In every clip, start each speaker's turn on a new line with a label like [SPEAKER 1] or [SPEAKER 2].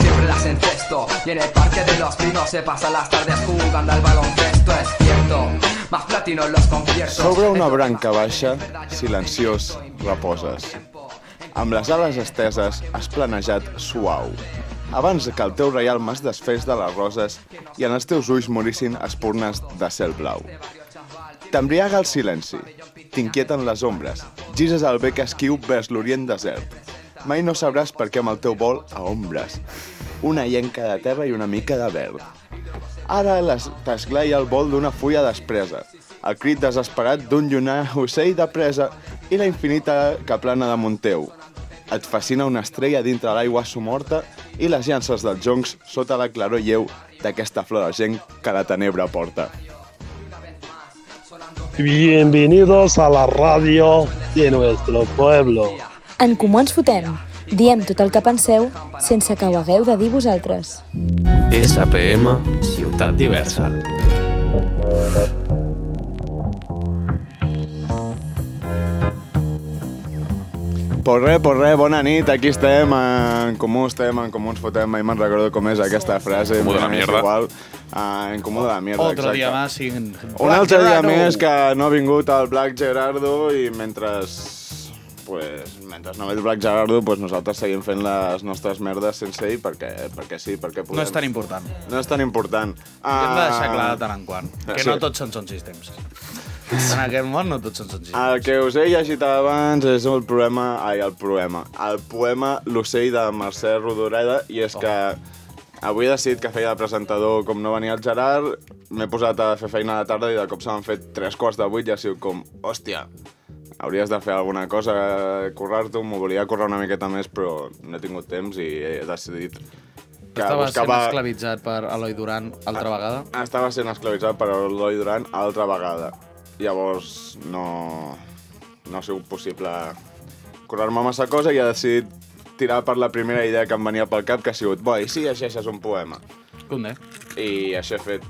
[SPEAKER 1] Siempre las encesto. Y en el parque de los pinos se pasan las tardes jugando al baloncesto, es cierto. Más platino en los conciertos.
[SPEAKER 2] Sobre una branca baixa, silenciós, reposes. Amb les ales esteses has planejat suau. Abans que el teu reial mas desfés de les roses i en els teus ulls morissin espurnes de cel blau. T'embriaga el silenci, t'inquieten les ombres, gises el bec esquiu vers l'orient desert. Mai no sabràs per què amb el teu vol a ombres. Una llenca de terra i una mica de verd. Ara les- t'esglaia el vol d'una fulla despresa, el crit desesperat d'un llunar ocell de presa i la infinita caplana damunt teu. Et fascina una estrella dintre l'aigua somorta i les llances dels joncs sota la claror lleu d'aquesta flor de gent que la tenebra porta.
[SPEAKER 3] Bienvenidos a la radio de nuestro pueblo.
[SPEAKER 4] En Comú Ens Fotem. Diem tot el que penseu sense que ho hagueu de dir vosaltres.
[SPEAKER 5] SPM Ciutat Diversa.
[SPEAKER 2] Pues res, pues res, bona nit, aquí estem, en comú estem, en comú ens fotem, mai me'n recordo com és aquesta frase.
[SPEAKER 6] Comú de la
[SPEAKER 2] m'és
[SPEAKER 6] mierda.
[SPEAKER 2] Igual, Ah, en comú de la mierda,
[SPEAKER 7] Otro
[SPEAKER 2] exacte.
[SPEAKER 7] día más sin...
[SPEAKER 2] Un altre dia més que no ha vingut el Black Gerardo i mentre pues, mentre no ve el Black Gerardo pues nosaltres seguim fent les nostres merdes sense ell perquè, perquè sí, perquè podem.
[SPEAKER 7] No és tan important.
[SPEAKER 2] no és tan important.
[SPEAKER 7] Ah. Hem de deixar
[SPEAKER 2] Ah,
[SPEAKER 7] clar de tant en quant que
[SPEAKER 2] Sí.
[SPEAKER 7] no tots són són sistemes. En aquest món no tots són són sistemes.
[SPEAKER 2] El que us he llegit abans és el problema... Ai, el problema. El poema L'ocell de Mercè Rodoreda i és que avui he decidit que feia de presentador com no venia el Gerard, m'he posat a fer feina a la tarda i de cop se m'han fet tres quarts de vuit i ha sigut com, hòstia, hauries de fer alguna cosa, currar-t'ho, m'ho volia currar una miqueta més però no he tingut temps i he decidit
[SPEAKER 6] Ah,
[SPEAKER 2] que
[SPEAKER 7] Estava sent esclavitzat per Eloi Duran altra vegada.
[SPEAKER 2] estava sent esclavitzat per Eloi Duran altra vegada. Llavors no, no ha sigut possible curar-me massa cosa i he decidit tirar per la primera idea que em venia pel cap, que ha sigut, bo, i si llegeixes un poema?
[SPEAKER 7] Condé.
[SPEAKER 2] I això he fet.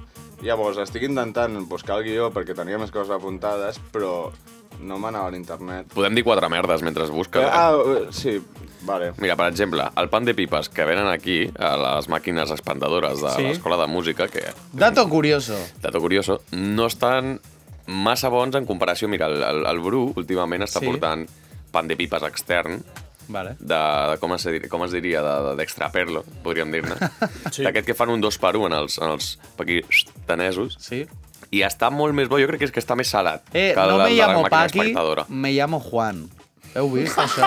[SPEAKER 2] Llavors, estic intentant buscar el guió perquè tenia més coses apuntades, però no m'anava a l'internet.
[SPEAKER 6] Podem dir quatre merdes mentre es busca.
[SPEAKER 2] Ah, eh, sí, vale.
[SPEAKER 6] Mira, per exemple, el pan de pipes que venen aquí, a les màquines expandadores de
[SPEAKER 7] Sí.
[SPEAKER 6] l'escola de música, que,
[SPEAKER 7] Dato curioso.
[SPEAKER 6] dato curioso, no estan massa bons en comparació. Mira, el, el, el Bru últimament està
[SPEAKER 7] Sí.
[SPEAKER 6] sí. portant pan de pipes extern,
[SPEAKER 7] Vale.
[SPEAKER 6] de, de com, es, dir- com es diria, de- de- d'extraperlo, de, podríem dir-ne. sí. D'aquest que fan un dos per un en els, en els paquistanesos.
[SPEAKER 7] Sí.
[SPEAKER 6] I està molt més bo, jo crec que és que està més salat
[SPEAKER 7] Eh,
[SPEAKER 6] que
[SPEAKER 7] no
[SPEAKER 6] el
[SPEAKER 7] me
[SPEAKER 6] de la
[SPEAKER 7] llamo
[SPEAKER 6] màquina
[SPEAKER 7] Paqui,
[SPEAKER 6] espectadora.
[SPEAKER 7] me llamo Juan. Heu vist, això?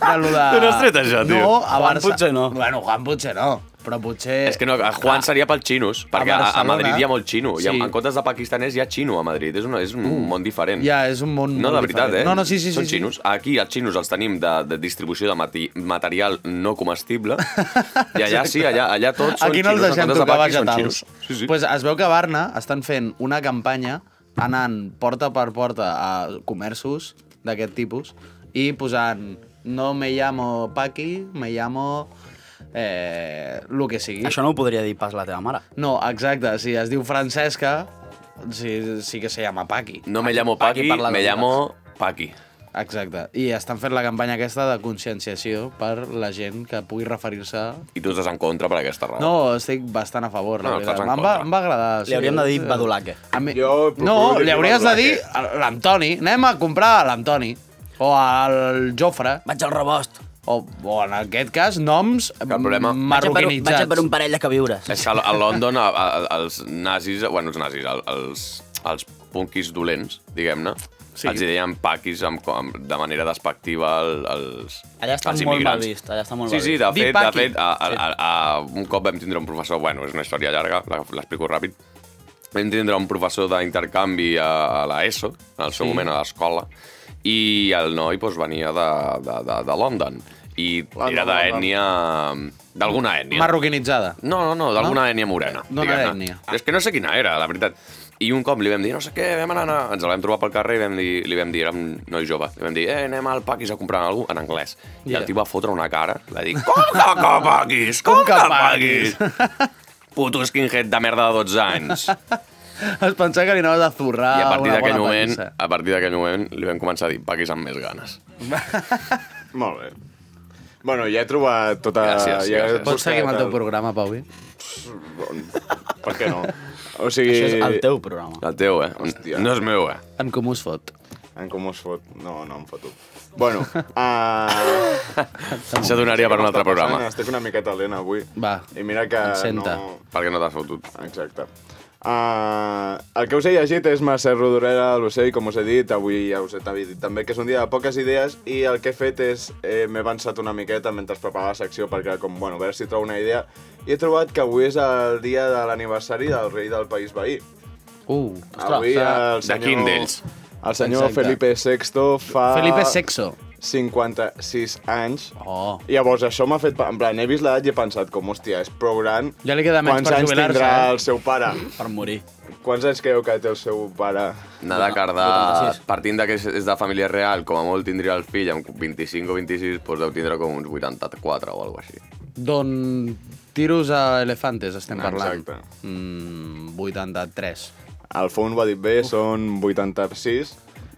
[SPEAKER 7] De lo de...
[SPEAKER 6] Tu no has tret això, tio.
[SPEAKER 7] No, a
[SPEAKER 6] Juan
[SPEAKER 7] Barça...
[SPEAKER 6] potser no.
[SPEAKER 7] Bueno, Juan potser no, però potser...
[SPEAKER 6] És que no, a Juan seria pel xinos, perquè a, a
[SPEAKER 7] Ah. Barcelona-
[SPEAKER 6] Madrid hi ha molt xino, sí. i
[SPEAKER 7] Sí.
[SPEAKER 6] en, en comptes de pakistanès hi ha xino a Madrid, és, una, és un món diferent.
[SPEAKER 7] Ja, és un món
[SPEAKER 6] No,
[SPEAKER 7] molt
[SPEAKER 6] de veritat,
[SPEAKER 7] diferent.
[SPEAKER 6] eh?
[SPEAKER 7] No, no, sí, sí,
[SPEAKER 6] Són
[SPEAKER 7] sí, sí.
[SPEAKER 6] xinos. Aquí els xinos els tenim de, de distribució de mati, material no comestible, i allà sí, allà, allà tots són
[SPEAKER 7] Aquí no els
[SPEAKER 6] xinos,
[SPEAKER 7] deixem
[SPEAKER 6] en comptes de
[SPEAKER 7] tocar
[SPEAKER 6] paquis són
[SPEAKER 7] vegetals.
[SPEAKER 6] xinos. Sí, sí.
[SPEAKER 7] Pues es veu que a Barna estan fent una campanya anant porta per porta a comerços d'aquest tipus i posant no me llamo Paqui, me llamo eh, lo que sigui.
[SPEAKER 8] Això no ho podria dir pas la teva mare.
[SPEAKER 7] No, exacte, si es diu Francesca, sí, sí que se llama Paqui.
[SPEAKER 6] No me llamo
[SPEAKER 8] Paqui
[SPEAKER 6] Paqui,
[SPEAKER 8] parla de
[SPEAKER 6] me
[SPEAKER 8] veritat.
[SPEAKER 6] llamo Paqui.
[SPEAKER 7] Exacte. I estan fent la campanya aquesta de conscienciació per la gent que pugui referir-se...
[SPEAKER 6] I tu estàs en contra per aquesta raó.
[SPEAKER 7] No, estic bastant a favor, la
[SPEAKER 6] No,
[SPEAKER 7] veritat.
[SPEAKER 6] estàs en
[SPEAKER 7] Em va,
[SPEAKER 6] contra.
[SPEAKER 7] em va agradar.
[SPEAKER 8] Li hauríem de dir
[SPEAKER 7] eh,
[SPEAKER 8] badulaque.
[SPEAKER 7] A mi...
[SPEAKER 2] Jo procuro
[SPEAKER 7] no,
[SPEAKER 2] dir
[SPEAKER 7] li hauries de
[SPEAKER 2] Badulaque.
[SPEAKER 6] eh.
[SPEAKER 7] dir a l'Antoni. Anem a comprar a l'Antoni. O al Jofre.
[SPEAKER 8] Vaig al rebost.
[SPEAKER 7] O, o en aquest cas, noms
[SPEAKER 6] el problema-
[SPEAKER 8] Vaig a, per un, vaig a
[SPEAKER 7] marroquinitzats.
[SPEAKER 8] per un parell de queviures.
[SPEAKER 6] És que a a London a, a, els nazis, bueno, els nazis, el- els, els punquis dolents, diguem-ne, sí. els hi deien paquis amb, amb, de manera despectiva al- als,
[SPEAKER 8] Allà està
[SPEAKER 6] als
[SPEAKER 8] molt
[SPEAKER 6] immigrants.
[SPEAKER 8] mal vist, allà està molt
[SPEAKER 6] sí,
[SPEAKER 8] mal
[SPEAKER 6] sí,
[SPEAKER 8] vist.
[SPEAKER 6] de
[SPEAKER 7] Dir
[SPEAKER 6] fet, de
[SPEAKER 7] paqui.
[SPEAKER 6] fet a, a, a, a, un cop vam tindre un professor, bueno, és una història llarga, la- l'explico ràpid, vam tindre un professor d'intercanvi a, a l'ESO, en el seu moment a l'escola, i el noi doncs, venia de, de, de, de London. i era d'ètnia... d'alguna ètnia.
[SPEAKER 7] Marroquinitzada.
[SPEAKER 6] No, no, no, d'alguna ètnia morena.
[SPEAKER 7] D'una
[SPEAKER 6] diguem-ne.
[SPEAKER 7] ètnia.
[SPEAKER 6] És que no sé quina era, la veritat. I un cop li vam dir, no sé què, vam anar, anar. ens el vam trobar pel carrer i vam dir, li vam dir, érem noi jove, li vam dir, eh, anem al Paquis a comprar alguna cosa en anglès. I
[SPEAKER 7] Yeah.
[SPEAKER 6] el tio va fotre una cara, va dir, com que, que Paquis, com, que Paquis? Puto skinhead de merda de 12 anys.
[SPEAKER 7] Es pensava que li anaves a zurrar
[SPEAKER 6] I a partir
[SPEAKER 7] una
[SPEAKER 6] d'aquell
[SPEAKER 7] bona
[SPEAKER 6] moment,
[SPEAKER 7] pallissa.
[SPEAKER 6] a partir d'aquell moment, li vam començar a dir paquis amb més ganes.
[SPEAKER 2] Molt bé. Bueno, ja he trobat tota...
[SPEAKER 6] Gràcies,
[SPEAKER 2] ja he
[SPEAKER 6] gràcies.
[SPEAKER 7] Pots seguir amb
[SPEAKER 6] eh,
[SPEAKER 7] el teu
[SPEAKER 2] buscat
[SPEAKER 7] programa, Pau?
[SPEAKER 2] el- Per què no? O sigui...
[SPEAKER 8] Això és el teu programa.
[SPEAKER 6] El teu, eh?
[SPEAKER 2] Hòstia.
[SPEAKER 6] No és meu, eh?
[SPEAKER 7] En com us fot.
[SPEAKER 2] En com es fot? No, no em foto. Bueno, uh,
[SPEAKER 6] Això donaria per un altre programa.
[SPEAKER 2] Estic una miqueta lent avui.
[SPEAKER 7] Va,
[SPEAKER 2] I mira que
[SPEAKER 7] em senta.
[SPEAKER 2] no...
[SPEAKER 6] Perquè no t'has fotut.
[SPEAKER 2] Exacte. Uh, el que us he llegit és Mercè Rodoreda de l'Ocell, com us he dit, avui ja us he dit també que és un dia de poques idees i el que he fet és, eh, m'he avançat una miqueta mentre preparava la secció perquè com, bueno, a veure si trobo una idea i he trobat que avui és el dia de l'aniversari del rei del País Veí.
[SPEAKER 7] Uh,
[SPEAKER 2] avui el
[SPEAKER 6] de
[SPEAKER 2] senyor...
[SPEAKER 6] quin d'ells?
[SPEAKER 2] El senyor
[SPEAKER 7] Exacte.
[SPEAKER 2] Felipe VI fa...
[SPEAKER 7] Felipe Sexo.
[SPEAKER 2] 56 anys.
[SPEAKER 7] Oh.
[SPEAKER 2] Llavors, això m'ha fet... pa- En plan, he vist l'edat i he pensat com, hòstia, és prou gran.
[SPEAKER 7] Ja li queda menys
[SPEAKER 2] Quants
[SPEAKER 7] per
[SPEAKER 2] anys
[SPEAKER 7] jubilar-se,
[SPEAKER 2] tindrà
[SPEAKER 7] eh?
[SPEAKER 2] el seu pare?
[SPEAKER 8] Per morir.
[SPEAKER 2] Quants anys creieu que té el seu pare?
[SPEAKER 6] Anar de cardar,
[SPEAKER 8] vuitanta-sis.
[SPEAKER 6] partint de que és- és de família real, com a molt tindria el fill amb 25 o 26, doncs deu tindre com uns 84 o alguna així.
[SPEAKER 7] D'on tiros a elefantes estem parlant.
[SPEAKER 2] Exacte.
[SPEAKER 7] Mm, 83.
[SPEAKER 2] El Fon ho ha dit bé, són 86.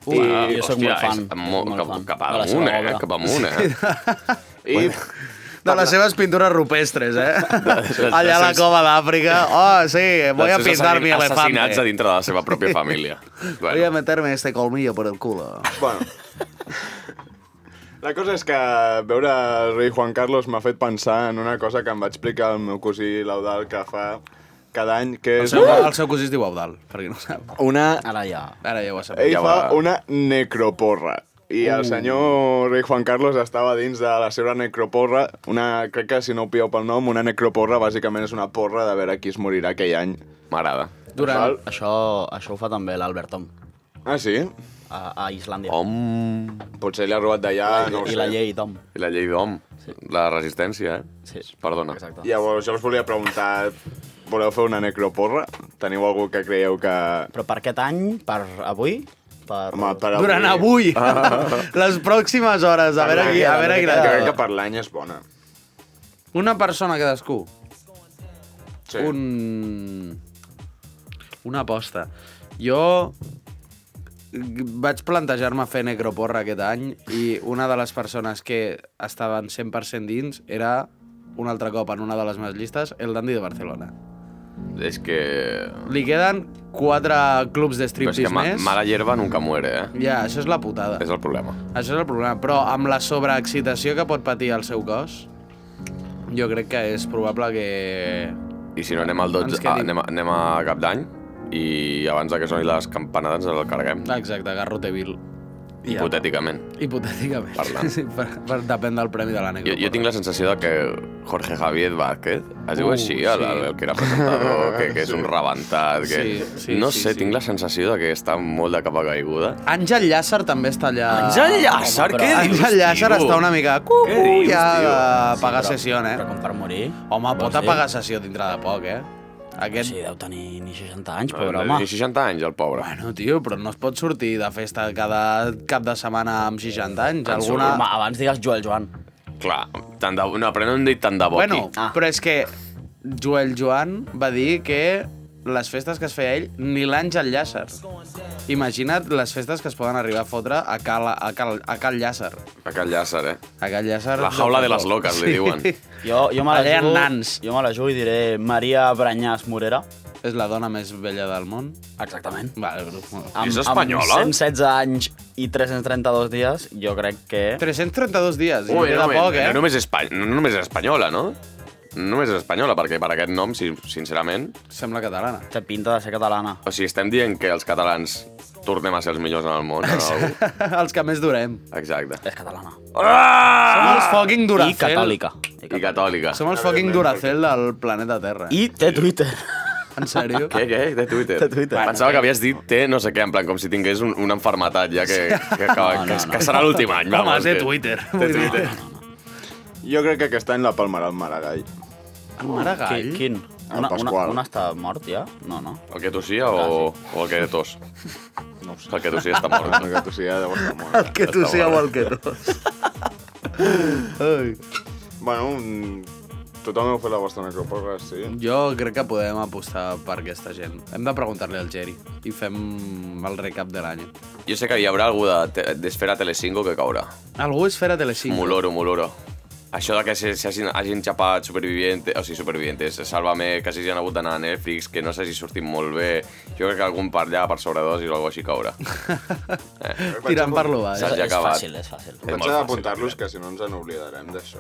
[SPEAKER 8] Ui, jo soc molt fan.
[SPEAKER 6] És, molt,
[SPEAKER 8] Molt
[SPEAKER 6] cap,
[SPEAKER 8] fan
[SPEAKER 6] cap
[SPEAKER 8] de la
[SPEAKER 6] amunt,
[SPEAKER 8] seva
[SPEAKER 6] eh?
[SPEAKER 8] obra.
[SPEAKER 6] Cap amunt, eh?
[SPEAKER 2] I
[SPEAKER 7] De les seves pintures rupestres, eh?
[SPEAKER 6] de-
[SPEAKER 7] Allà a la
[SPEAKER 6] dels seus-
[SPEAKER 7] cova d'Àfrica. Oh, sí, voy a
[SPEAKER 6] Dels seus
[SPEAKER 7] pintar mi
[SPEAKER 6] Assassinats a
[SPEAKER 7] elefante.
[SPEAKER 6] dintre de la seva pròpia família.
[SPEAKER 7] Voy a
[SPEAKER 6] bueno,
[SPEAKER 7] meterme este colmillo por el culo.
[SPEAKER 2] Bueno. La cosa és que veure el rei Juan Carlos m'ha fet pensar en una cosa que em va explicar el meu cosí Laudal que fa cada any, que
[SPEAKER 7] El
[SPEAKER 2] és
[SPEAKER 7] seu, el seu cosí es diu Audal, per qui no ho sap.
[SPEAKER 2] una...
[SPEAKER 8] Ara ja.
[SPEAKER 7] Ara ja ho sap.
[SPEAKER 2] Ell
[SPEAKER 6] Ja
[SPEAKER 2] fa
[SPEAKER 6] va.
[SPEAKER 2] una necroporra. I
[SPEAKER 7] Uh.
[SPEAKER 2] el senyor rei Juan Carlos estava dins de la seva necroporra, una, crec que si no ho pieu pel nom, una necroporra bàsicament és una porra de veure qui es morirà aquell any.
[SPEAKER 6] m'agrada.
[SPEAKER 7] Durant...
[SPEAKER 2] Val?
[SPEAKER 8] Això, això ho fa també l'Albert Tom,
[SPEAKER 2] Ah, sí?
[SPEAKER 8] a, a Islàndia.
[SPEAKER 6] Om.
[SPEAKER 2] Potser li ha robat d'allà, no ho sé.
[SPEAKER 8] I la llei Tom.
[SPEAKER 6] I la llei d'Om. La resistència, eh?
[SPEAKER 8] Sí.
[SPEAKER 6] Perdona.
[SPEAKER 8] Exacte.
[SPEAKER 2] Llavors, jo us volia preguntar, voleu fer una necroporra? Teniu algú que creieu que...
[SPEAKER 8] Però per aquest any, per avui, per...
[SPEAKER 2] Home, per avui...
[SPEAKER 7] Durant avui. Les pròximes hores. A veure qui, a veure qui
[SPEAKER 2] Jo crec que
[SPEAKER 7] la...
[SPEAKER 2] per l'any és bona.
[SPEAKER 7] Una persona cadascú.
[SPEAKER 2] Sí.
[SPEAKER 7] un... una aposta. Jo vaig plantejar-me fer necroporra aquest any i una de les persones que estaven 100% dins era un altre cop en una de les meves llistes, el Dandy de Barcelona.
[SPEAKER 6] És que...
[SPEAKER 7] Li queden quatre clubs de
[SPEAKER 6] Però és
[SPEAKER 7] striptease
[SPEAKER 6] que ma,
[SPEAKER 7] més.
[SPEAKER 6] mala hierba nunca muere, eh?
[SPEAKER 7] Ja, això és la putada.
[SPEAKER 6] És el problema.
[SPEAKER 7] Això és el problema. Però amb la sobreexcitació que pot patir el seu cos, jo crec que és probable que...
[SPEAKER 6] I si no, anem al 12,
[SPEAKER 7] Ens
[SPEAKER 6] ah,
[SPEAKER 7] quedi-
[SPEAKER 6] anem, a, anem a cap d'any i abans de que soni les campanades ens el carreguem,
[SPEAKER 7] Exacte, Garroteville. Ja.
[SPEAKER 6] hipotèticament.
[SPEAKER 7] Hipotèticament.
[SPEAKER 6] Parlant.
[SPEAKER 7] Sí, per, per, depèn del premi de l'Ànec.
[SPEAKER 6] Jo, jo tinc la sensació de que Jorge Javier Vázquez, es diu
[SPEAKER 7] Uh,
[SPEAKER 6] així, el,
[SPEAKER 7] sí.
[SPEAKER 6] el que era presentador, que, que és un rebentat, que...
[SPEAKER 7] Sí, sí,
[SPEAKER 6] no
[SPEAKER 7] sí,
[SPEAKER 6] sé,
[SPEAKER 7] sí.
[SPEAKER 6] tinc la sensació de que està molt de capa caiguda.
[SPEAKER 7] Àngel Llàcer també està allà.
[SPEAKER 6] Àngel Llàcer, què dius,
[SPEAKER 7] Àngel Llàcer
[SPEAKER 6] tio?
[SPEAKER 7] està una mica...
[SPEAKER 6] Què
[SPEAKER 7] Cucu,
[SPEAKER 6] dius,
[SPEAKER 7] ja
[SPEAKER 6] tio?
[SPEAKER 7] de pagar
[SPEAKER 8] però-
[SPEAKER 7] sessió, eh?
[SPEAKER 8] Però com per morir...
[SPEAKER 7] Home,
[SPEAKER 8] vols
[SPEAKER 7] pot
[SPEAKER 8] dir?
[SPEAKER 7] apagar sessió dintre de poc, eh? Aquest...
[SPEAKER 8] Sí, deu tenir ni 60 anys,
[SPEAKER 6] No,
[SPEAKER 8] pobre
[SPEAKER 6] Té
[SPEAKER 8] home.
[SPEAKER 6] 60 anys, el pobre.
[SPEAKER 7] Bueno, tio, però no es pot sortir de festa cada cap de setmana amb 60 anys. Alguna...
[SPEAKER 8] Home, abans digues Joel Joan.
[SPEAKER 6] Clar, tant de... No, però no hem dit tant de bo
[SPEAKER 7] Bueno,
[SPEAKER 6] aquí.
[SPEAKER 8] Ah.
[SPEAKER 7] però és que Joel Joan va dir que les festes que es feia ell, ni l'Àngel Llàcer. Imagina't les festes que es poden arribar a fotre a Cal, a Cal, a Cal Llàcer.
[SPEAKER 6] Aquell llàcer, eh?
[SPEAKER 7] A Cal Llàcer...
[SPEAKER 6] La jaula de les loques, li diuen.
[SPEAKER 8] Jo, jo me la
[SPEAKER 7] El gran
[SPEAKER 8] jugo,
[SPEAKER 7] Nans.
[SPEAKER 8] jo me la jugo i diré Maria Branyàs Morera.
[SPEAKER 7] És la dona més vella del món.
[SPEAKER 8] Exactament.
[SPEAKER 7] Vale, però...
[SPEAKER 6] És espanyola?
[SPEAKER 8] Amb 116 anys i 332 dies, jo crec que...
[SPEAKER 7] 332 dies, i
[SPEAKER 6] Ui,
[SPEAKER 7] queda
[SPEAKER 6] no,
[SPEAKER 7] poc, eh?
[SPEAKER 6] no, només, és espa... no, només és espanyola, no? No Només és espanyola, perquè per aquest nom, si, sincerament...
[SPEAKER 7] Sembla catalana.
[SPEAKER 8] Té pinta de ser catalana.
[SPEAKER 6] O sigui, estem dient que els catalans tornem a ser els millors en el món. Exacte.
[SPEAKER 7] Els que més durem.
[SPEAKER 6] Exacte.
[SPEAKER 8] És catalana.
[SPEAKER 7] Som
[SPEAKER 6] Ah!
[SPEAKER 7] els fucking
[SPEAKER 8] I
[SPEAKER 7] Duracell.
[SPEAKER 8] catòlica.
[SPEAKER 6] I catòlica.
[SPEAKER 7] Ah! Som els fucking Duracell del planeta Terra.
[SPEAKER 8] I té Twitter.
[SPEAKER 7] En sèrio?
[SPEAKER 2] Ah.
[SPEAKER 6] Què, què? De Twitter?
[SPEAKER 8] De Twitter.
[SPEAKER 6] Pensava que havies dit té no sé què, en plan, com si tingués un, una enfermetat ja que, que, que, no, no, que, que serà l'últim any.
[SPEAKER 7] Home,
[SPEAKER 6] vamos,
[SPEAKER 7] té
[SPEAKER 6] que-
[SPEAKER 7] Twitter.
[SPEAKER 6] Té
[SPEAKER 7] vull dir.
[SPEAKER 6] Twitter.
[SPEAKER 2] Jo crec que aquest any la palmarà el Maragall.
[SPEAKER 7] El Maragall?
[SPEAKER 8] Qui- Quin?
[SPEAKER 2] En
[SPEAKER 8] Una, una,
[SPEAKER 2] Pasqual.
[SPEAKER 8] una està mort ja? No, no.
[SPEAKER 6] El que tossia o, o el que tos?
[SPEAKER 2] No ho sé.
[SPEAKER 6] El que tossia està mort.
[SPEAKER 2] El que tu sí, ja deu estar
[SPEAKER 6] Ah,
[SPEAKER 2] mort.
[SPEAKER 7] Que tu
[SPEAKER 6] Està
[SPEAKER 7] sí
[SPEAKER 6] molt
[SPEAKER 7] el que tos. Ai.
[SPEAKER 2] Bueno, mm, tothom heu fet la vostra necropòrra, sí?
[SPEAKER 7] Jo crec que podem apostar per aquesta gent. Hem de preguntar-li al Geri i fem el recap de l'any.
[SPEAKER 6] Jo sé que hi haurà algú de te- d'Esfera Telecinco que caurà.
[SPEAKER 7] Algú és Fera Telecinco.
[SPEAKER 6] Moloro, moloro. Això de que se- s'hagin hagin xapat supervivientes, o sigui, supervivientes, Sálvame, que s'hagin hagut d'anar a Netflix, que no s'hagi sortit molt bé, jo crec que algun per allà per sobredosis o alguna així caurà.
[SPEAKER 7] Tirant per lo baix.
[SPEAKER 6] Saps?
[SPEAKER 8] és,
[SPEAKER 6] ja
[SPEAKER 8] és
[SPEAKER 6] acabat.
[SPEAKER 8] fàcil, és fàcil.
[SPEAKER 6] molt
[SPEAKER 2] Vaig
[SPEAKER 6] fàcil,
[SPEAKER 2] a apuntar-los
[SPEAKER 6] mira.
[SPEAKER 2] que si no ens en oblidarem d'això.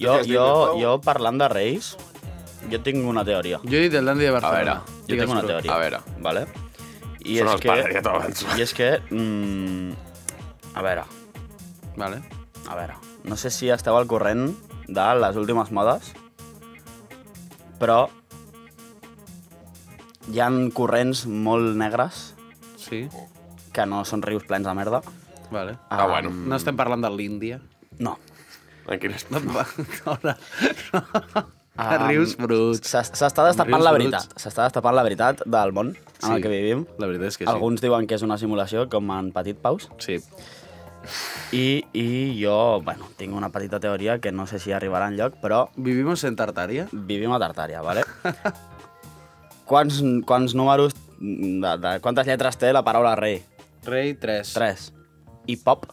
[SPEAKER 8] Jo,
[SPEAKER 2] has dit,
[SPEAKER 8] jo,
[SPEAKER 2] Pau?
[SPEAKER 8] jo parlant de Reis, jo tinc una teoria.
[SPEAKER 7] eh? Jo he dit el Dandy de
[SPEAKER 6] A
[SPEAKER 7] Barcelona.
[SPEAKER 6] veure,
[SPEAKER 8] Jo tinc una teoria.
[SPEAKER 6] A veure.
[SPEAKER 8] Vale? I
[SPEAKER 6] Són
[SPEAKER 8] és
[SPEAKER 6] els
[SPEAKER 8] que,
[SPEAKER 6] pares, ja t'ho avanço.
[SPEAKER 8] I és que... Mm, a veure,
[SPEAKER 7] teoria. Vale.
[SPEAKER 8] a veure. No sé si esteu al corrent de les últimes modes, però hi han corrents molt negres
[SPEAKER 7] Sí,
[SPEAKER 8] que no són rius plens de merda.
[SPEAKER 7] vale.
[SPEAKER 6] Ah, bueno.
[SPEAKER 7] No estem parlant de l'Índia.
[SPEAKER 8] No.
[SPEAKER 6] Tranquil·les.
[SPEAKER 7] No, no. no.
[SPEAKER 8] Ah,
[SPEAKER 7] Rius
[SPEAKER 8] S'es-
[SPEAKER 7] bruts.
[SPEAKER 8] S'està destapant
[SPEAKER 7] Rius
[SPEAKER 8] la
[SPEAKER 7] bruts.
[SPEAKER 8] veritat. S'està destapant la veritat del món en
[SPEAKER 7] Sí.
[SPEAKER 8] el que vivim.
[SPEAKER 7] La veritat és que sí.
[SPEAKER 8] Alguns diuen que és una simulació, com en Petit Paus.
[SPEAKER 7] Sí.
[SPEAKER 8] I, i jo, bueno, tinc una petita teoria que no sé si arribarà en lloc, però
[SPEAKER 7] Vivimos en Tartària?
[SPEAKER 8] vivim a Tartària, ¿vale? quants, quants números... De, de, quantes lletres té la paraula rei?
[SPEAKER 7] Rei 3.
[SPEAKER 8] Tres. I pop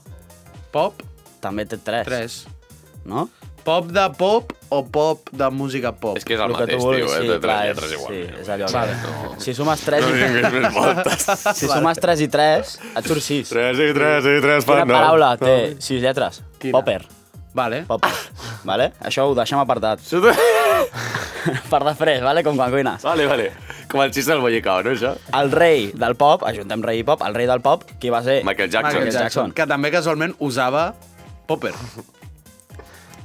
[SPEAKER 7] Pop
[SPEAKER 8] també té tres.
[SPEAKER 7] 3.
[SPEAKER 8] No?
[SPEAKER 7] Pop de pop o pop de música pop?
[SPEAKER 6] És que és el
[SPEAKER 8] Lo que tu
[SPEAKER 6] mateix,
[SPEAKER 8] vulguis,
[SPEAKER 6] tio, eh?
[SPEAKER 8] sí,
[SPEAKER 6] de tres
[SPEAKER 8] clar,
[SPEAKER 6] lletres
[SPEAKER 8] és-
[SPEAKER 6] igual.
[SPEAKER 8] sí,
[SPEAKER 6] eh?
[SPEAKER 8] és allò que-
[SPEAKER 6] Vale. No.
[SPEAKER 8] Si sumes tres
[SPEAKER 6] No
[SPEAKER 8] i,
[SPEAKER 6] tinguis més voltes.
[SPEAKER 8] si sumes tres i tres, et surt sis.
[SPEAKER 6] 3 i 3 i 3
[SPEAKER 8] Quina
[SPEAKER 6] fan nou.
[SPEAKER 8] paraula té sis lletres?
[SPEAKER 7] Quina?
[SPEAKER 8] Popper.
[SPEAKER 7] Vale.
[SPEAKER 8] Popper. Vale? Això ho deixem apartat. per després, vale? com quan cuines.
[SPEAKER 6] Vale, vale. Com el xiste del Bollicao, no, això?
[SPEAKER 8] El rei del pop, ajuntem rei i pop, el rei del pop, qui va ser?
[SPEAKER 6] Michael Jackson.
[SPEAKER 8] Michael Jackson.
[SPEAKER 7] Que també casualment usava Popper.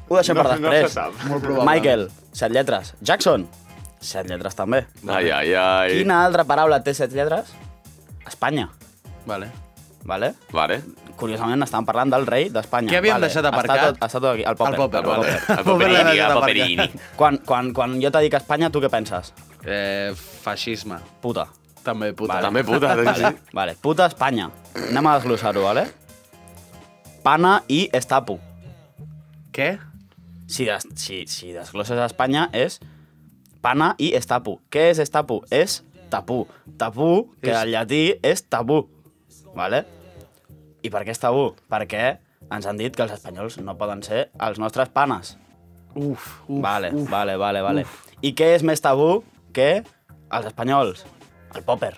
[SPEAKER 8] Ho deixem
[SPEAKER 2] No-
[SPEAKER 8] per
[SPEAKER 2] no
[SPEAKER 8] després.
[SPEAKER 2] se sap.
[SPEAKER 7] Molt probable.
[SPEAKER 8] Michael, set lletres. Jackson, set lletres també.
[SPEAKER 6] Ai, ai, ai.
[SPEAKER 8] Quina altra paraula té set lletres? Espanya,
[SPEAKER 7] Vale.
[SPEAKER 8] vale?
[SPEAKER 6] Vale.
[SPEAKER 8] Curiosament, estàvem parlant del rei d'Espanya.
[SPEAKER 7] Què havíem
[SPEAKER 8] vale.
[SPEAKER 7] deixat aparcat?
[SPEAKER 8] Està tot, està tot aquí, el Popper.
[SPEAKER 7] El Popper,
[SPEAKER 6] Vale.
[SPEAKER 7] Popper.
[SPEAKER 6] El Paperini, el Paperini.
[SPEAKER 8] Quan, quan, quan jo t'he dit Espanya, tu què penses?
[SPEAKER 7] Eh, fascisme.
[SPEAKER 8] Puta.
[SPEAKER 7] També puta.
[SPEAKER 6] També puta. sí.
[SPEAKER 8] Vale, puta Espanya. Anem a desglossar-ho, vale? Pana i estapu.
[SPEAKER 7] Què?
[SPEAKER 8] Si, des, si, si desglosses a Espanya és pana i estapu. Què és estapu? És tapú. Tapú, que
[SPEAKER 7] És-
[SPEAKER 8] en llatí és tabú. Vale? I per què és tabú? Perquè ens han dit que els espanyols no poden ser els nostres panes.
[SPEAKER 7] Uf, uf,
[SPEAKER 8] vale,
[SPEAKER 7] uf.
[SPEAKER 8] vale, vale, vale. I què és més tabú que els espanyols? El popper.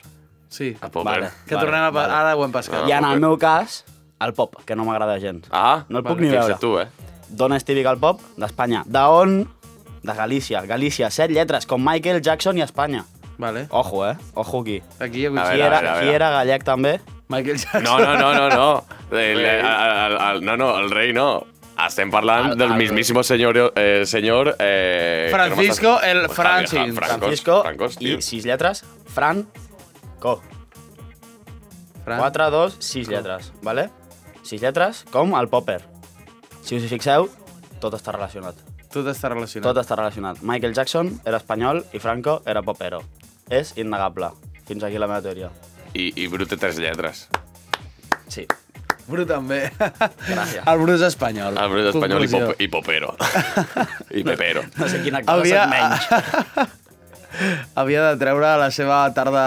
[SPEAKER 7] Sí.
[SPEAKER 6] El Popper.
[SPEAKER 8] Vale.
[SPEAKER 7] Que tornem a... pa-
[SPEAKER 8] vale.
[SPEAKER 7] Ara ho hem pescat.
[SPEAKER 8] I en
[SPEAKER 6] popper.
[SPEAKER 8] el meu cas, el pop, que no m'agrada gens.
[SPEAKER 6] Ah,
[SPEAKER 8] No el puc ni
[SPEAKER 6] fixa't
[SPEAKER 8] veure.
[SPEAKER 6] tu, eh?
[SPEAKER 8] D'on és típic el pop? D'Espanya. D'on? De Galícia. Galícia, set lletres, com Michael Jackson i Espanya.
[SPEAKER 7] Vale.
[SPEAKER 8] Ojo, eh? Ojo aquí.
[SPEAKER 7] Aquí hi
[SPEAKER 6] A
[SPEAKER 7] ha
[SPEAKER 8] Qui
[SPEAKER 6] veure,
[SPEAKER 7] coincidència.
[SPEAKER 8] era,
[SPEAKER 6] a veure.
[SPEAKER 8] qui era gallec també?
[SPEAKER 7] Michael Jackson.
[SPEAKER 6] No, no, no, no, no. El, el, el, el, no, no, el rei no. Estem parlant
[SPEAKER 8] El-
[SPEAKER 6] del
[SPEAKER 8] el-
[SPEAKER 6] mismísimo senyor... Eh, senyor eh,
[SPEAKER 7] Francisco
[SPEAKER 6] que no
[SPEAKER 7] el
[SPEAKER 6] m'està-
[SPEAKER 7] Francis.
[SPEAKER 6] Francos,
[SPEAKER 8] Francisco.
[SPEAKER 6] Francos, tio.
[SPEAKER 8] I sis lletres, Fran, co.
[SPEAKER 7] Fran.
[SPEAKER 8] 4, 2, 6 lletres, vale? 6 lletres, com el popper. Si us hi fixeu, tot està relacionat.
[SPEAKER 7] Tot està relacionat.
[SPEAKER 8] Tot està relacionat. Michael Jackson era espanyol i Franco era popero. És innegable. Fins aquí la meva teoria.
[SPEAKER 6] I, i Brute tres lletres.
[SPEAKER 8] Sí.
[SPEAKER 7] Bru també.
[SPEAKER 8] Gràcies.
[SPEAKER 7] El Bru és espanyol.
[SPEAKER 6] El Brute espanyol i,
[SPEAKER 7] Conclusió.
[SPEAKER 6] pop, i popero. I pepero.
[SPEAKER 8] No sé quina cosa
[SPEAKER 7] Havia...
[SPEAKER 8] Havia... menys.
[SPEAKER 7] Havia de treure la seva tarda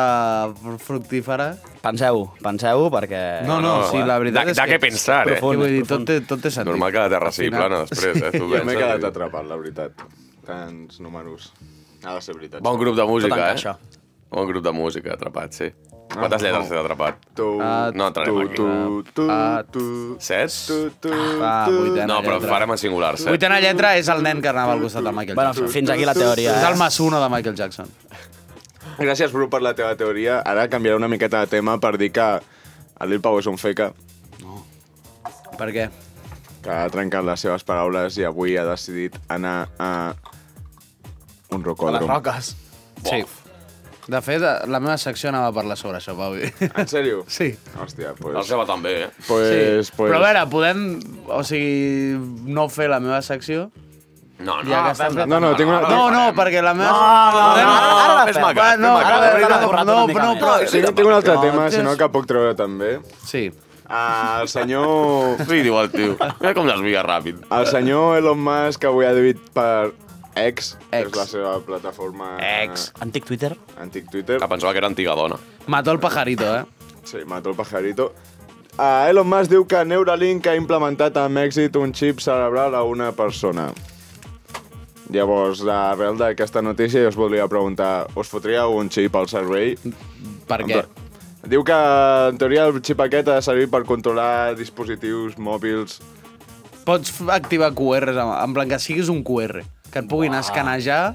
[SPEAKER 7] fructífera.
[SPEAKER 8] Penseu-ho, penseu-ho, perquè...
[SPEAKER 7] No, no, sí, la veritat
[SPEAKER 6] da,
[SPEAKER 7] és
[SPEAKER 6] da
[SPEAKER 7] que-
[SPEAKER 6] que pensar, eh?
[SPEAKER 8] Profund.
[SPEAKER 7] vull dir, tot
[SPEAKER 8] profund.
[SPEAKER 7] té, tot té sentit.
[SPEAKER 6] Normal que la terra sigui
[SPEAKER 7] Al final.
[SPEAKER 6] plana després, eh? Tu
[SPEAKER 2] Jo m'he
[SPEAKER 6] penses,
[SPEAKER 2] quedat
[SPEAKER 6] eh?
[SPEAKER 2] atrapat, la veritat. Tants números. Ha de ser veritat.
[SPEAKER 6] Bon grup de música, eh?
[SPEAKER 8] encaixa.
[SPEAKER 6] Bon grup de música, atrapat, sí. Quantes
[SPEAKER 2] no.
[SPEAKER 6] lletres t'has atrapat?
[SPEAKER 2] Tu,
[SPEAKER 7] Ah,
[SPEAKER 6] No entrarem
[SPEAKER 2] tu,
[SPEAKER 6] aquí.
[SPEAKER 2] tu, tu,
[SPEAKER 7] Ah,
[SPEAKER 2] tu,
[SPEAKER 6] Set?
[SPEAKER 2] tu, tu,
[SPEAKER 7] Ah,
[SPEAKER 2] tu.
[SPEAKER 7] vuitena.
[SPEAKER 6] No, però
[SPEAKER 7] lletra.
[SPEAKER 6] farem en singular, set.
[SPEAKER 7] Vuitena lletra és el nen que anava al costat de Michael
[SPEAKER 8] Bueno,
[SPEAKER 7] Jackson.
[SPEAKER 8] fins aquí la teoria,
[SPEAKER 7] És el
[SPEAKER 8] eh?
[SPEAKER 7] Masuno de Michael Jackson.
[SPEAKER 2] Gràcies, Bru, per la teva teoria. Ara canviaré una miqueta de tema per dir que el Lil Pau és un feca
[SPEAKER 7] Per què?
[SPEAKER 2] que ha trencat les seves paraules i avui ha decidit anar a un
[SPEAKER 8] A les
[SPEAKER 2] rocòdrom.
[SPEAKER 8] roques.
[SPEAKER 7] Sí. De fet, la meva secció anava a parlar sobre això, Pau.
[SPEAKER 2] En sèrio?
[SPEAKER 7] Sí.
[SPEAKER 2] Hòstia, doncs...
[SPEAKER 6] La seva també, eh?
[SPEAKER 2] Pues,
[SPEAKER 7] sí.
[SPEAKER 2] pues,
[SPEAKER 7] Però a veure, podem... O sigui, no fer la meva secció?
[SPEAKER 6] No, no.
[SPEAKER 7] Ja que
[SPEAKER 6] Ah,
[SPEAKER 7] estem-
[SPEAKER 2] No, no, tinc una...
[SPEAKER 7] No, no, perquè la meva...
[SPEAKER 8] no, no,
[SPEAKER 7] Podem-
[SPEAKER 8] no, ara la
[SPEAKER 6] fes
[SPEAKER 8] fem.
[SPEAKER 6] maca,
[SPEAKER 7] Va,
[SPEAKER 6] fes
[SPEAKER 7] no,
[SPEAKER 6] maca.
[SPEAKER 7] ara
[SPEAKER 6] La veritat,
[SPEAKER 7] no,
[SPEAKER 8] borrat
[SPEAKER 7] no,
[SPEAKER 8] una mica
[SPEAKER 7] no,
[SPEAKER 8] més.
[SPEAKER 7] però...
[SPEAKER 2] Tinc, tinc un altre
[SPEAKER 7] No,
[SPEAKER 2] tema, si no,
[SPEAKER 7] tens-
[SPEAKER 2] que puc treure també.
[SPEAKER 7] Sí.
[SPEAKER 2] Ah, el senyor...
[SPEAKER 6] Sí, diu el tio. Mira com desvia ràpid.
[SPEAKER 2] El senyor Elon Musk avui ha dit per X, que
[SPEAKER 7] X.
[SPEAKER 2] és la seva plataforma...
[SPEAKER 6] Ah.
[SPEAKER 7] X.
[SPEAKER 8] Antic Twitter?
[SPEAKER 2] Antic Twitter.
[SPEAKER 6] Que pensava que era antiga dona.
[SPEAKER 7] Mató el pajarito, eh?
[SPEAKER 2] Sí, mató el pajarito. Uh, Elon Musk diu que Neuralink ha implementat amb èxit un xip cerebral a una persona. Llavors, arrel d'aquesta notícia, jo us voldria preguntar, us fotríeu un xip al cervell?
[SPEAKER 7] Per què?
[SPEAKER 2] Diu que, en teoria, el xip aquest ha de servir per controlar dispositius mòbils.
[SPEAKER 7] Pots f- activar QRs, en- en plan que siguis un QR, que et puguin escanejar,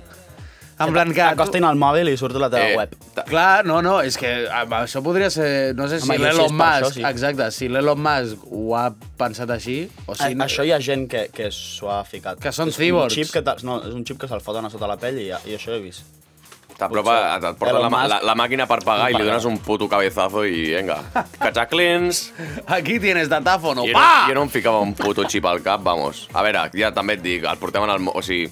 [SPEAKER 7] en plan que...
[SPEAKER 8] Acostin al mòbil i surt a la
[SPEAKER 6] Eh,
[SPEAKER 8] teva web.
[SPEAKER 7] Clar, no, no, és que amb això podria ser... No sé si
[SPEAKER 8] Home, jo si és
[SPEAKER 7] l'Elon
[SPEAKER 8] per
[SPEAKER 7] Musk...
[SPEAKER 8] això, sí.
[SPEAKER 7] Exacte, si l'Elon Musk ho ha pensat així... O
[SPEAKER 8] Sí,
[SPEAKER 7] si
[SPEAKER 8] no. Això hi ha gent que, que s'ho ha ficat.
[SPEAKER 7] Que són
[SPEAKER 8] És
[SPEAKER 7] cíborgs.
[SPEAKER 8] Un xip Ah, que te- no, és un xip que se'l foten a sota la pell i, i això he vist.
[SPEAKER 6] T'apropa, et et porta
[SPEAKER 8] Elon
[SPEAKER 6] la, ma-
[SPEAKER 8] Musk.
[SPEAKER 6] la, la, màquina per pagar i li dones un puto cabezazo i venga. Cachaclins.
[SPEAKER 7] Aquí tienes datáfono,
[SPEAKER 6] Jo no,
[SPEAKER 7] pa!
[SPEAKER 6] jo no em ficava un puto xip al cap, vamos. A veure, ja també et dic, el portem en el... mo- O sigui,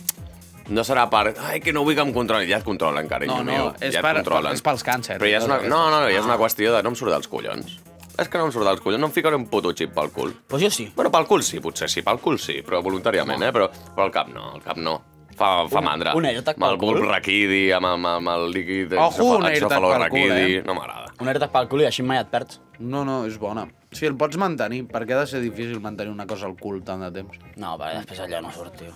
[SPEAKER 6] no serà per... Ai, que no vull que em controlin. Ja et controlen, carinyo
[SPEAKER 7] No, no,
[SPEAKER 6] meu.
[SPEAKER 7] és
[SPEAKER 6] ja et
[SPEAKER 7] per-
[SPEAKER 6] controlen.
[SPEAKER 7] és pels càncers. eh,
[SPEAKER 6] Però ja és una... No, no, no, ja és una qüestió de no em surt dels collons. És que no em surt dels collons, no em ficaré un puto xip pel cul.
[SPEAKER 8] Doncs pues jo sí.
[SPEAKER 6] Bueno, pel cul sí, potser sí, pel cul sí, però voluntàriament, eh? Però, però el cap no, el cap no. Fa, fa
[SPEAKER 8] Un-
[SPEAKER 6] mandra.
[SPEAKER 8] un AirTag
[SPEAKER 6] Amb el
[SPEAKER 8] pel cul?
[SPEAKER 6] bulb raquidi, amb, amb, amb el líquid...
[SPEAKER 7] Ojo, un AirTag pel cul,
[SPEAKER 6] encefalorraquidi,
[SPEAKER 7] eh?
[SPEAKER 6] No m'agrada.
[SPEAKER 8] Un AirTag pel cul i així mai et perds.
[SPEAKER 7] No, no, és bona. Si el pots mantenir, perquè ha de ser difícil mantenir una cosa al cul tant de temps.
[SPEAKER 8] No, perquè després allò no surt, tio.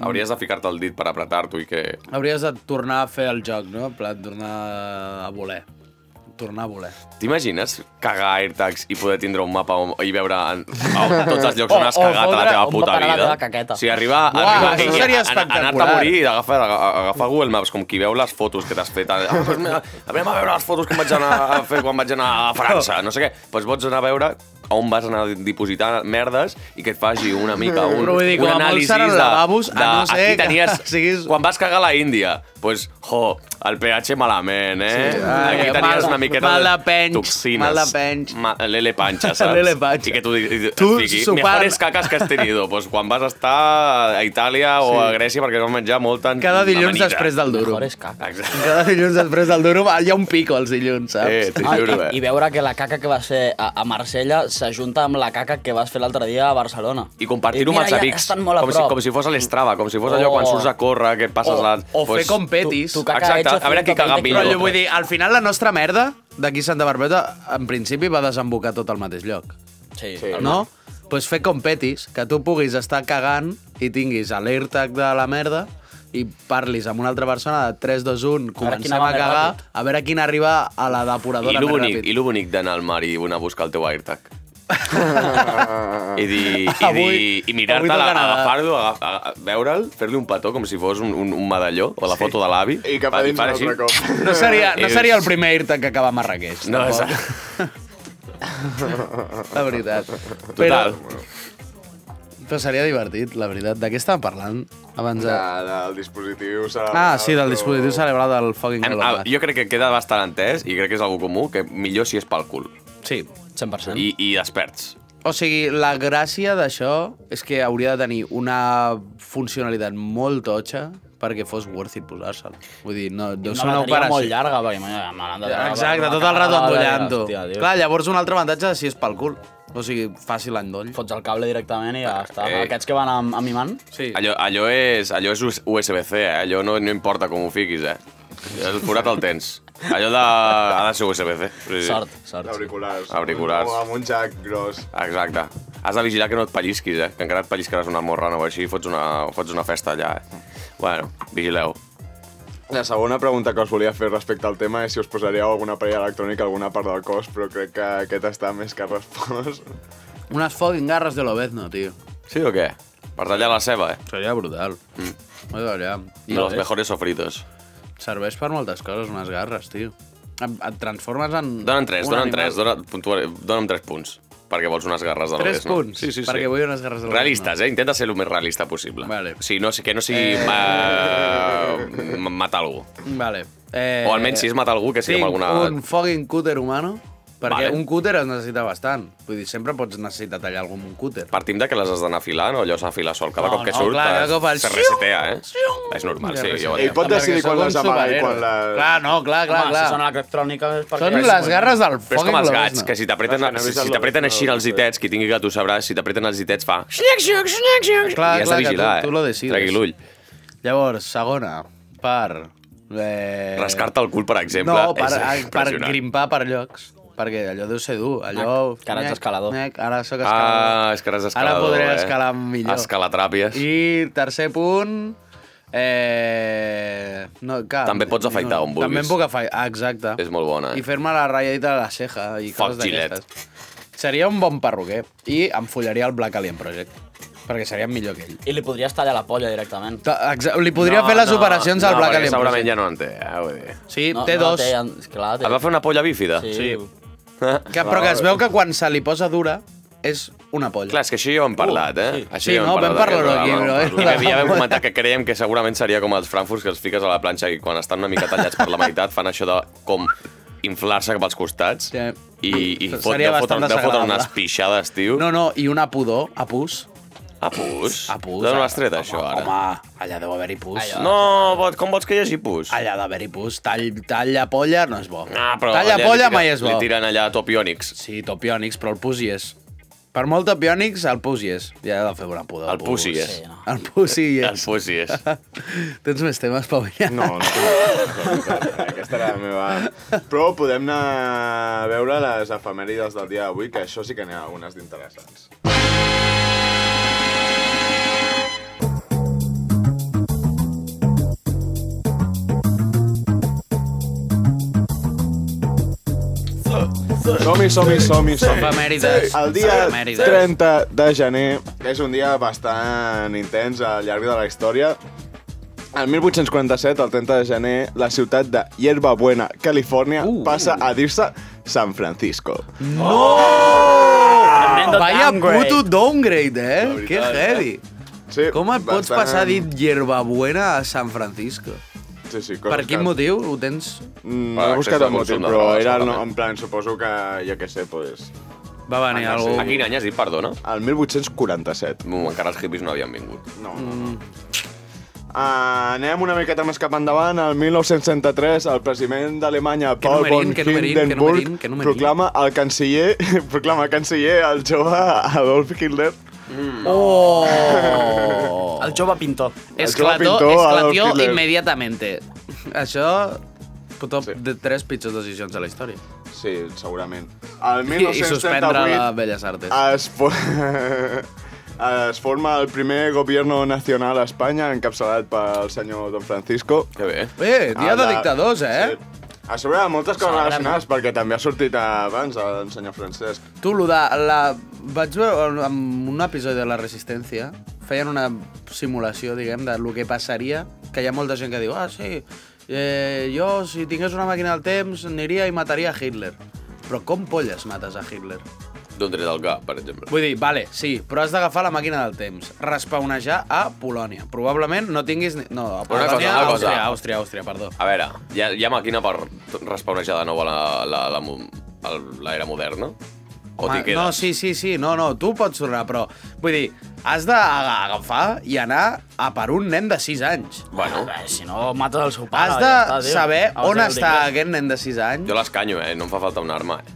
[SPEAKER 6] Hauries de ficar-te el dit per apretar-t'ho i que...
[SPEAKER 7] Hauries de tornar a fer el joc, no? En plan, tornar a voler. Tornar a voler.
[SPEAKER 6] T'imagines cagar AirTags i poder tindre un mapa on- i veure en, a tots els llocs on has
[SPEAKER 8] O- o
[SPEAKER 6] cagat a la teva
[SPEAKER 8] fotre on va
[SPEAKER 6] puta
[SPEAKER 8] parar la
[SPEAKER 6] vida?
[SPEAKER 8] teva caqueta.
[SPEAKER 6] O sigui, arribar...
[SPEAKER 7] Uau,
[SPEAKER 6] arribar
[SPEAKER 7] això
[SPEAKER 6] i-
[SPEAKER 7] seria
[SPEAKER 6] an- an- Anar-te a
[SPEAKER 7] espectacular.
[SPEAKER 6] morir i agafar, aga- agafar Google Maps, com qui veu les fotos que t'has fet. Ah, doncs mira, anem a veure les fotos que em vaig anar a fer quan vaig anar a França, no sé què. Doncs pots anar a veure on vas anar dipositant merdes i que et faci una mica un,
[SPEAKER 7] Però vull dir,
[SPEAKER 6] un
[SPEAKER 7] com a molt
[SPEAKER 6] anàlisi
[SPEAKER 7] seran
[SPEAKER 6] de,
[SPEAKER 7] lavabos, a
[SPEAKER 6] de
[SPEAKER 7] no ser
[SPEAKER 6] aquí
[SPEAKER 7] que
[SPEAKER 6] tenies,
[SPEAKER 7] siguis-
[SPEAKER 6] quan vas cagar a la Índia, doncs, jo, el pH malament, eh?
[SPEAKER 7] Sí, ai,
[SPEAKER 6] aquí tenies
[SPEAKER 7] mal-
[SPEAKER 6] una miqueta
[SPEAKER 7] mal de
[SPEAKER 6] de
[SPEAKER 7] penys,
[SPEAKER 6] toxines.
[SPEAKER 7] mal de penys.
[SPEAKER 6] Ma- Lele panxa, saps?
[SPEAKER 7] Lele panxa.
[SPEAKER 6] I que tu, digui-
[SPEAKER 7] Tu
[SPEAKER 6] et digui,
[SPEAKER 7] sopant.
[SPEAKER 6] mejores cacas que has tenido. Pues quan vas estar a Itàlia o a Grècia perquè vas menjar molta an-
[SPEAKER 7] Cada dilluns
[SPEAKER 6] amanida.
[SPEAKER 7] després del duro.
[SPEAKER 8] Mejor és caca.
[SPEAKER 6] Exacte.
[SPEAKER 7] Cada dilluns després del duro va- hi ha un pico els dilluns,
[SPEAKER 6] Eh,
[SPEAKER 7] saps?
[SPEAKER 6] t'hi
[SPEAKER 8] Ah,
[SPEAKER 6] juro,
[SPEAKER 8] i, I
[SPEAKER 6] eh?
[SPEAKER 8] veure que la caca que vas fer a, a Marsella s'ajunta amb la caca que vas fer l'altre dia a Barcelona.
[SPEAKER 6] I compartir-ho amb
[SPEAKER 8] mira,
[SPEAKER 6] els
[SPEAKER 8] ja
[SPEAKER 6] amics.
[SPEAKER 8] estan molt a
[SPEAKER 6] com, si,
[SPEAKER 8] prop.
[SPEAKER 6] com si fos a l'Estrava, com si fos allò quan
[SPEAKER 8] O-
[SPEAKER 6] surts a córrer, que passes
[SPEAKER 8] o-
[SPEAKER 6] la...
[SPEAKER 7] o Oh. fer com petis.
[SPEAKER 8] Tu, tu caca
[SPEAKER 6] Exacte,
[SPEAKER 8] hecha
[SPEAKER 6] a veure qui
[SPEAKER 8] haciendo
[SPEAKER 6] caga
[SPEAKER 8] papel de
[SPEAKER 6] millor.
[SPEAKER 7] Però jo
[SPEAKER 8] clodo.
[SPEAKER 7] vull dir, al final la nostra merda d'aquí Santa Barbeta, en principi va desembocar tot al mateix lloc.
[SPEAKER 8] Sí,
[SPEAKER 6] Sí.
[SPEAKER 8] el-
[SPEAKER 7] no? pues fer com petis, que tu puguis estar cagant i tinguis l'AirTag de la merda i parlis amb una altra persona de 3, 2, 1, comencem
[SPEAKER 8] quina
[SPEAKER 7] a,
[SPEAKER 8] va més
[SPEAKER 7] cagar,
[SPEAKER 8] ràpid.
[SPEAKER 7] a veure quina arriba a la
[SPEAKER 6] I
[SPEAKER 7] depuradora
[SPEAKER 6] lo
[SPEAKER 7] més
[SPEAKER 6] bonic,
[SPEAKER 7] ràpid.
[SPEAKER 6] i lo bonic d'anar al mar i anar a buscar el teu AirTag. I, dir, i, dir,
[SPEAKER 7] Avui-
[SPEAKER 6] i mirar-te,
[SPEAKER 7] avui toca nedar.
[SPEAKER 6] agafar-lo, agaf- a- a- veure'l, fer-li un petó com si fos un, un, un medalló o la foto de l'avi.
[SPEAKER 2] I cap a
[SPEAKER 6] Fa-
[SPEAKER 2] dins
[SPEAKER 6] fa
[SPEAKER 2] un
[SPEAKER 6] així.
[SPEAKER 2] altre cop.
[SPEAKER 7] No seria, no
[SPEAKER 6] I-
[SPEAKER 7] seria el primer AirTag que acaba a Marrakeix.
[SPEAKER 6] No,
[SPEAKER 7] tampoc,
[SPEAKER 6] exacte.
[SPEAKER 7] la veritat.
[SPEAKER 6] Total.
[SPEAKER 7] Però, però seria divertit, la veritat. De què estàvem parlant abans de...
[SPEAKER 2] De, del dispositiu cerebral.
[SPEAKER 7] Ah, sí, del
[SPEAKER 2] o-
[SPEAKER 7] dispositiu cerebral del fucking
[SPEAKER 6] Em,
[SPEAKER 7] Elon
[SPEAKER 6] ah,
[SPEAKER 7] Musk.
[SPEAKER 6] jo crec que queda bastant entès i crec que és algú comú que millor si és pel cul
[SPEAKER 7] Sí.
[SPEAKER 8] 100%.
[SPEAKER 6] i, i experts.
[SPEAKER 7] O sigui, la gràcia d'això és que hauria de tenir una funcionalitat molt totxa perquè fos worth it posar-se'l. Vull dir, no, deu
[SPEAKER 8] una
[SPEAKER 7] ser una
[SPEAKER 8] bateria
[SPEAKER 7] operació.
[SPEAKER 8] molt llarga, perquè me l'han de treure,
[SPEAKER 7] Exacte,
[SPEAKER 8] me
[SPEAKER 7] tot el
[SPEAKER 8] l'acaben
[SPEAKER 7] rato
[SPEAKER 8] de treure,
[SPEAKER 7] endollant-ho.
[SPEAKER 8] hòstia, tio.
[SPEAKER 7] Clar, llavors un altre avantatge és si és pel cul. O sigui, fàcil endoll.
[SPEAKER 8] Fots el cable directament i ja està.
[SPEAKER 6] eh.
[SPEAKER 8] Aquests que van amb, amb imant,
[SPEAKER 7] Sí.
[SPEAKER 6] Allò, allò és, allò és US- USB-C, eh? allò no, no importa com ho fiquis, eh? El forat el tens. Allò de, ha de ser USB-C. Sí, sí.
[SPEAKER 8] sort, sort.
[SPEAKER 2] Auriculars.
[SPEAKER 6] Auriculars.
[SPEAKER 2] O amb un jack gros.
[SPEAKER 6] Exacte. Has de vigilar que no et pallisquis, eh? Que encara et palliscaràs una morrana o així, fots una, fots una festa allà, eh? Bueno, vigileu.
[SPEAKER 2] La segona pregunta que us volia fer respecte al tema és si us posaríeu alguna parella electrònica a alguna part del cos, però crec que aquest està més que respost.
[SPEAKER 7] Unes fucking garres de l'Obezno, tio.
[SPEAKER 6] Sí o què? Per tallar la ceba, eh?
[SPEAKER 7] Seria brutal. Mm. Allà.
[SPEAKER 6] De los mejores sofritos.
[SPEAKER 7] Serveix per moltes coses, unes garres, tio. Et, et transformes en...
[SPEAKER 6] Dona'm tres,
[SPEAKER 7] un
[SPEAKER 6] dona'm
[SPEAKER 7] animal.
[SPEAKER 6] tres, dona, puntuaré- dona'm tres punts. Perquè vols unes garres de
[SPEAKER 7] Tres
[SPEAKER 6] l'Obres, no?
[SPEAKER 7] punts? Perquè vull unes garres de l'Obres,
[SPEAKER 6] Realistes, eh? Intenta ser el més realista possible.
[SPEAKER 7] Vale.
[SPEAKER 6] Si no, que no sigui eh... matar algú.
[SPEAKER 7] Vale. Eh,
[SPEAKER 6] O almenys si es mata algú, que sigui
[SPEAKER 7] tinc
[SPEAKER 6] amb alguna...
[SPEAKER 7] un fucking cúter humano, perquè
[SPEAKER 6] Vale.
[SPEAKER 7] un cúter es necessita bastant. Vull dir, sempre pots necessitar tallar algú amb un cúter.
[SPEAKER 6] Partim de que les has d'anar afilant o allò s'afila sol. Cada
[SPEAKER 7] No,
[SPEAKER 6] cop que
[SPEAKER 7] no,
[SPEAKER 6] surt
[SPEAKER 7] clar, cada
[SPEAKER 6] es-
[SPEAKER 7] cop el
[SPEAKER 6] se
[SPEAKER 7] xiu,
[SPEAKER 6] resetea, eh? És normal, sí. Ja ho
[SPEAKER 2] Ell
[SPEAKER 6] entenc.
[SPEAKER 2] pot decidir quan les amaga i quan les...
[SPEAKER 7] Clar, no, clar, clar,
[SPEAKER 8] Home,
[SPEAKER 7] clar.
[SPEAKER 8] Si són electròniques... perquè-
[SPEAKER 7] Són les garres del
[SPEAKER 6] Però és
[SPEAKER 7] fucking
[SPEAKER 6] com els
[SPEAKER 7] Globes,
[SPEAKER 6] gats,
[SPEAKER 7] no?
[SPEAKER 6] que si t'apreten
[SPEAKER 9] No, és que no he
[SPEAKER 6] si
[SPEAKER 9] vist el eh?
[SPEAKER 6] t'apreten
[SPEAKER 9] Globes,
[SPEAKER 6] així
[SPEAKER 9] no,
[SPEAKER 6] els
[SPEAKER 9] no sé.
[SPEAKER 6] ditets, qui tingui gat ho sabrà, si t'apreten els ditets fa... Xnic, xnic, xnic, xnic.
[SPEAKER 7] Clar,
[SPEAKER 6] I has
[SPEAKER 7] clar,
[SPEAKER 6] de
[SPEAKER 7] que
[SPEAKER 6] vigilar,
[SPEAKER 7] tu- tu lo
[SPEAKER 6] eh?
[SPEAKER 7] decides.
[SPEAKER 6] Tregui l'ull.
[SPEAKER 7] Llavors, segona, per... Eh...
[SPEAKER 6] Rascar-te el cul, per exemple,
[SPEAKER 7] No, per,
[SPEAKER 6] és
[SPEAKER 7] per
[SPEAKER 6] impressionant.
[SPEAKER 7] grimpar per llocs. Perquè allò deu ser dur. Allò...
[SPEAKER 8] Ah, que ara ets
[SPEAKER 7] Nyec,
[SPEAKER 8] escalador.
[SPEAKER 7] nyec, ara sóc escalador.
[SPEAKER 6] Ah, és que eres escalador,
[SPEAKER 7] Ara podré
[SPEAKER 6] eh?
[SPEAKER 7] escalar millor.
[SPEAKER 6] Escalatràpies.
[SPEAKER 7] I tercer punt... Eh... No, cap,
[SPEAKER 6] També pots afaitar on vulguis.
[SPEAKER 7] També em puc afaitar, ah, exacte.
[SPEAKER 6] És molt bona, eh?
[SPEAKER 7] I fer-me la ratlladita de la ceja i
[SPEAKER 6] Fuck
[SPEAKER 7] coses d'aquestes. Seria un bon perruquer i em follaria el Black Alien Project, perquè seria millor que ell.
[SPEAKER 8] I li podries tallar la polla directament.
[SPEAKER 7] Ta- exa- Li podria
[SPEAKER 6] No,
[SPEAKER 7] fer les
[SPEAKER 6] no,
[SPEAKER 7] operacions
[SPEAKER 6] no,
[SPEAKER 7] al Black
[SPEAKER 6] perquè
[SPEAKER 7] Alien
[SPEAKER 6] segurament
[SPEAKER 7] Project.
[SPEAKER 6] ja no en té, eh? Vull dir.
[SPEAKER 7] Sí, té dos.
[SPEAKER 8] Té, és clar, té.
[SPEAKER 6] Et va fer una polla bífida?
[SPEAKER 8] Sí.
[SPEAKER 7] Que, però que es veu que quan se li posa dura és una polla.
[SPEAKER 6] Clar, és que això ja ho hem parlat, eh?
[SPEAKER 8] sí.
[SPEAKER 6] Això
[SPEAKER 7] Uh, Sí,
[SPEAKER 6] ja ho hem
[SPEAKER 7] no, vam
[SPEAKER 6] parlat d'aquest
[SPEAKER 7] parlar-ho aquí,
[SPEAKER 6] programa,
[SPEAKER 7] però,
[SPEAKER 6] vam parlar-ho.
[SPEAKER 7] eh?
[SPEAKER 6] I ja vam comentar que creiem que segurament seria com els frankfurts que els fiques a la planxa i quan estan una mica tallats per la meitat fan això de com inflar-se cap als costats
[SPEAKER 7] Sí.
[SPEAKER 6] i, i
[SPEAKER 7] Seria
[SPEAKER 6] fot, deu, fotre,
[SPEAKER 7] bastant
[SPEAKER 6] deu fotre
[SPEAKER 7] desagradable.
[SPEAKER 6] unes pixades, tio.
[SPEAKER 7] No, no, i una pudor a pus.
[SPEAKER 6] A pus?
[SPEAKER 7] A pus.
[SPEAKER 6] D'on
[SPEAKER 7] eh?
[SPEAKER 6] l'has tret,
[SPEAKER 7] Home,
[SPEAKER 6] això, ara?
[SPEAKER 7] Home, allà deu haver-hi pus. Allà.
[SPEAKER 6] No, vol- com vols que hi hagi pus?
[SPEAKER 7] Allà deu haver-hi pus. Tall, talla polla no és bo.
[SPEAKER 6] Ah, però
[SPEAKER 7] talla
[SPEAKER 6] allà li
[SPEAKER 7] polla
[SPEAKER 6] tiren-
[SPEAKER 7] mai és bo.
[SPEAKER 6] Li tiren allà topiònics.
[SPEAKER 7] Sí, topiònics, però el pus hi és. Per molt topiònics, el pus hi és. Ja he de fer una pudor.
[SPEAKER 6] El pus hi és.
[SPEAKER 7] Sí, no. El pus hi
[SPEAKER 6] El
[SPEAKER 7] és.
[SPEAKER 6] pus hi és.
[SPEAKER 7] Tens més temes, Pau? Ja?
[SPEAKER 2] No, no. Aquesta era la meva... Però podem anar a veure les efemèrides del dia d'avui, que això sí que n'hi ha algunes d'interessants. Som-hi, som-hi, som-hi, som-hi.
[SPEAKER 7] Efemèrides.
[SPEAKER 2] El dia
[SPEAKER 6] eh?
[SPEAKER 7] Efemèrides.
[SPEAKER 2] 30 de gener és un dia bastant intens al llarg de la història. El 1847, el 30 de gener, la ciutat de Yerba Buena, Califòrnia, uh. passa a dir-se San Francisco.
[SPEAKER 8] Tremendo
[SPEAKER 7] Ah, Vaya
[SPEAKER 8] downgrade.
[SPEAKER 7] puto downgrade, eh? Que heavy.
[SPEAKER 2] Sí,
[SPEAKER 7] Com et pots passar a dir hierbabuena a San Francisco?
[SPEAKER 2] Sí, sí, coses
[SPEAKER 7] Per quin
[SPEAKER 2] que-
[SPEAKER 7] motiu ho tens?
[SPEAKER 2] Mm,
[SPEAKER 6] Per
[SPEAKER 2] No he buscat
[SPEAKER 6] excés de
[SPEAKER 2] el motiu,
[SPEAKER 6] consum de
[SPEAKER 2] però
[SPEAKER 6] drogues,
[SPEAKER 2] era el no,
[SPEAKER 6] segurament.
[SPEAKER 2] en plan, suposo que, jo què sé, pues,
[SPEAKER 7] Va venir
[SPEAKER 2] Ah, no sé.
[SPEAKER 7] algú...
[SPEAKER 6] A quin any has dit, perdona?
[SPEAKER 2] el 1847.
[SPEAKER 6] Mm, Encara els hippies no havien vingut.
[SPEAKER 2] No, no, no. Uh, anem una miqueta més cap endavant. El 1963, el president d'Alemanya,
[SPEAKER 7] Que
[SPEAKER 2] Paul
[SPEAKER 7] numerín,
[SPEAKER 2] von
[SPEAKER 7] que numerín, que
[SPEAKER 2] Hindenburg,
[SPEAKER 7] numerín, que numerín.
[SPEAKER 2] proclama el canciller, proclama canciller el jove Adolf Hitler.
[SPEAKER 7] Oh!
[SPEAKER 8] Oh! El jove pintor.
[SPEAKER 7] Esclató,
[SPEAKER 2] pintor Adolf
[SPEAKER 7] esclatió
[SPEAKER 2] Hitler.
[SPEAKER 7] immediatamente. Això... Top de tres pitjors decisions de la història.
[SPEAKER 2] Sí, segurament. El
[SPEAKER 7] I, i suspendre la
[SPEAKER 2] 1938
[SPEAKER 7] Belles Artes.
[SPEAKER 2] es, fo es forma el primer gobierno nacional a Espanya, encapçalat pel senyor Don Francisco.
[SPEAKER 6] Que bé.
[SPEAKER 7] Eh, dia
[SPEAKER 2] Ah,
[SPEAKER 7] de
[SPEAKER 2] la-
[SPEAKER 7] dictadors, eh?
[SPEAKER 2] Sí. A sobre de moltes coses
[SPEAKER 8] Celebrem.
[SPEAKER 2] relacionades, perquè també ha sortit abans el senyor Francesc.
[SPEAKER 7] Tu, lo de la... Vaig veure en un episodi de La Resistència, feien una simulació, diguem, de lo que passaria, que hi ha molta gent que diu, ah, sí, eh, jo, si tingués una màquina del temps, aniria i mataria a Hitler. Però com polles mates a Hitler?
[SPEAKER 6] D'on tret el cap, per exemple?
[SPEAKER 7] Vull dir, vale, sí, però has d'agafar la màquina del temps, respawnejar a Polònia. Probablement no tinguis... Ni... No, a Polònia,
[SPEAKER 6] cosa, una cosa.
[SPEAKER 7] Àustria, Àustria, Àustria, perdó.
[SPEAKER 6] A veure, hi ha, hi ha màquina per respawnejar de nou a l'era la, la, mo- al- l'era moderna? O
[SPEAKER 7] Home,
[SPEAKER 6] t'hi quedes?
[SPEAKER 7] no, sí, sí, sí, no, no, tu pots tornar, però... Vull dir, has d'agafar i anar a per un nen de 6 anys.
[SPEAKER 6] Bueno,
[SPEAKER 8] Eh, si no, mates el seu
[SPEAKER 6] Ah,
[SPEAKER 8] pare.
[SPEAKER 7] Has
[SPEAKER 8] ja
[SPEAKER 7] de
[SPEAKER 8] està, tio.
[SPEAKER 7] saber
[SPEAKER 8] Has
[SPEAKER 7] on
[SPEAKER 8] de
[SPEAKER 7] està
[SPEAKER 8] dir-li.
[SPEAKER 7] aquest nen de 6 anys,
[SPEAKER 6] jo l'escanyo, eh? No em fa falta una arma, eh?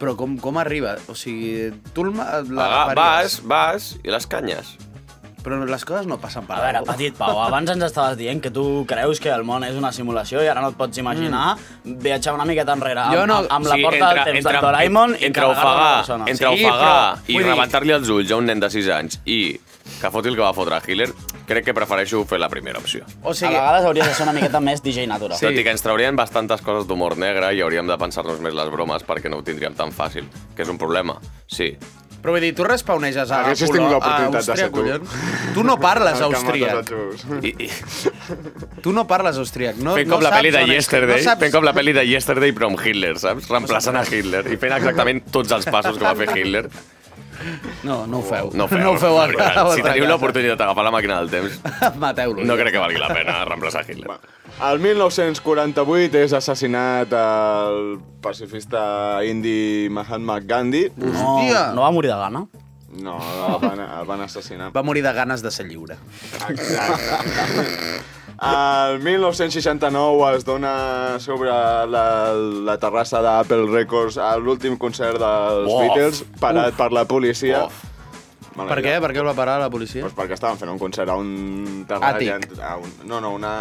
[SPEAKER 7] però com, com arriba? O sigui, tu el ma-
[SPEAKER 6] Aga,
[SPEAKER 7] l'agafaries,
[SPEAKER 6] vas, vas i les canyes.
[SPEAKER 7] però les coses no passen per
[SPEAKER 8] A veure,
[SPEAKER 7] algú.
[SPEAKER 8] petit Pau, abans ens estaves dient que tu creus que el món és una simulació i ara no et pots imaginar mm. viatjar una miqueta enrere amb,
[SPEAKER 7] Jo no-
[SPEAKER 8] amb, amb la porta del temps del Doraemon i
[SPEAKER 6] entre
[SPEAKER 8] carregar-la a una
[SPEAKER 6] ofegar,
[SPEAKER 8] persona.
[SPEAKER 6] entre
[SPEAKER 7] Sí,
[SPEAKER 6] ofegar
[SPEAKER 7] però,
[SPEAKER 6] i
[SPEAKER 7] vull dir-
[SPEAKER 6] rebentar-li els ulls a un nen de 6 anys i que foti el que va fotre a Hitler, crec que prefereixo fer la primera opció.
[SPEAKER 7] O
[SPEAKER 8] A
[SPEAKER 7] sigui,
[SPEAKER 8] vegades hauries de ser una miqueta més DJ Natura.
[SPEAKER 6] Sí. Tot i que ens traurien bastantes coses d'humor negre i hauríem de pensar-nos més les bromes perquè no ho tindríem tan fàcil, que és un problema. Sí,
[SPEAKER 7] però vull dir, tu respawneges a,
[SPEAKER 2] Haguessis tingut
[SPEAKER 7] Polò- a
[SPEAKER 2] l'oportunitat de
[SPEAKER 7] Àustria,
[SPEAKER 2] ser tu.
[SPEAKER 7] collons. Tu no parles
[SPEAKER 2] El que mates
[SPEAKER 7] austríac.
[SPEAKER 2] els
[SPEAKER 8] Mm.
[SPEAKER 2] jueus.
[SPEAKER 6] I, i,
[SPEAKER 7] Tu no parles austríac. No,
[SPEAKER 6] fent
[SPEAKER 7] no
[SPEAKER 6] com la
[SPEAKER 7] saps
[SPEAKER 6] pel·li de
[SPEAKER 7] on és-
[SPEAKER 6] Yesterday,
[SPEAKER 7] No saps...
[SPEAKER 6] fent com la pel·li de Yesterday però amb Hitler, saps? Reemplaçant a Hitler i fent exactament tots els passos que va fer Hitler.
[SPEAKER 7] No, no ho feu.
[SPEAKER 6] No ho feu.
[SPEAKER 7] no ho feu a,
[SPEAKER 6] la veritat.
[SPEAKER 7] a
[SPEAKER 6] Si teniu l'oportunitat d'agafar la màquina del temps,
[SPEAKER 7] Mateu-lo.
[SPEAKER 6] no crec que valgui la pena reemplaçar Hitler.
[SPEAKER 2] Va. El 1948 és assassinat el pacifista indi Mahatma Gandhi.
[SPEAKER 7] Mm.
[SPEAKER 8] No,
[SPEAKER 7] Hòstia!
[SPEAKER 8] no va morir de gana.
[SPEAKER 2] No, el van, el van assassinar.
[SPEAKER 7] Va morir de ganes de ser lliure.
[SPEAKER 2] El 1969 es dona sobre la, la terrassa d'Apple Records a l'últim concert dels
[SPEAKER 6] Uf,
[SPEAKER 2] Beatles, parat per la policia.
[SPEAKER 6] Uf.
[SPEAKER 2] Mala
[SPEAKER 7] Per què? Per què el va parar la policia?
[SPEAKER 2] Pues perquè estaven fent un concert a un terrat...
[SPEAKER 7] Àtic.
[SPEAKER 2] A un, no, no, una,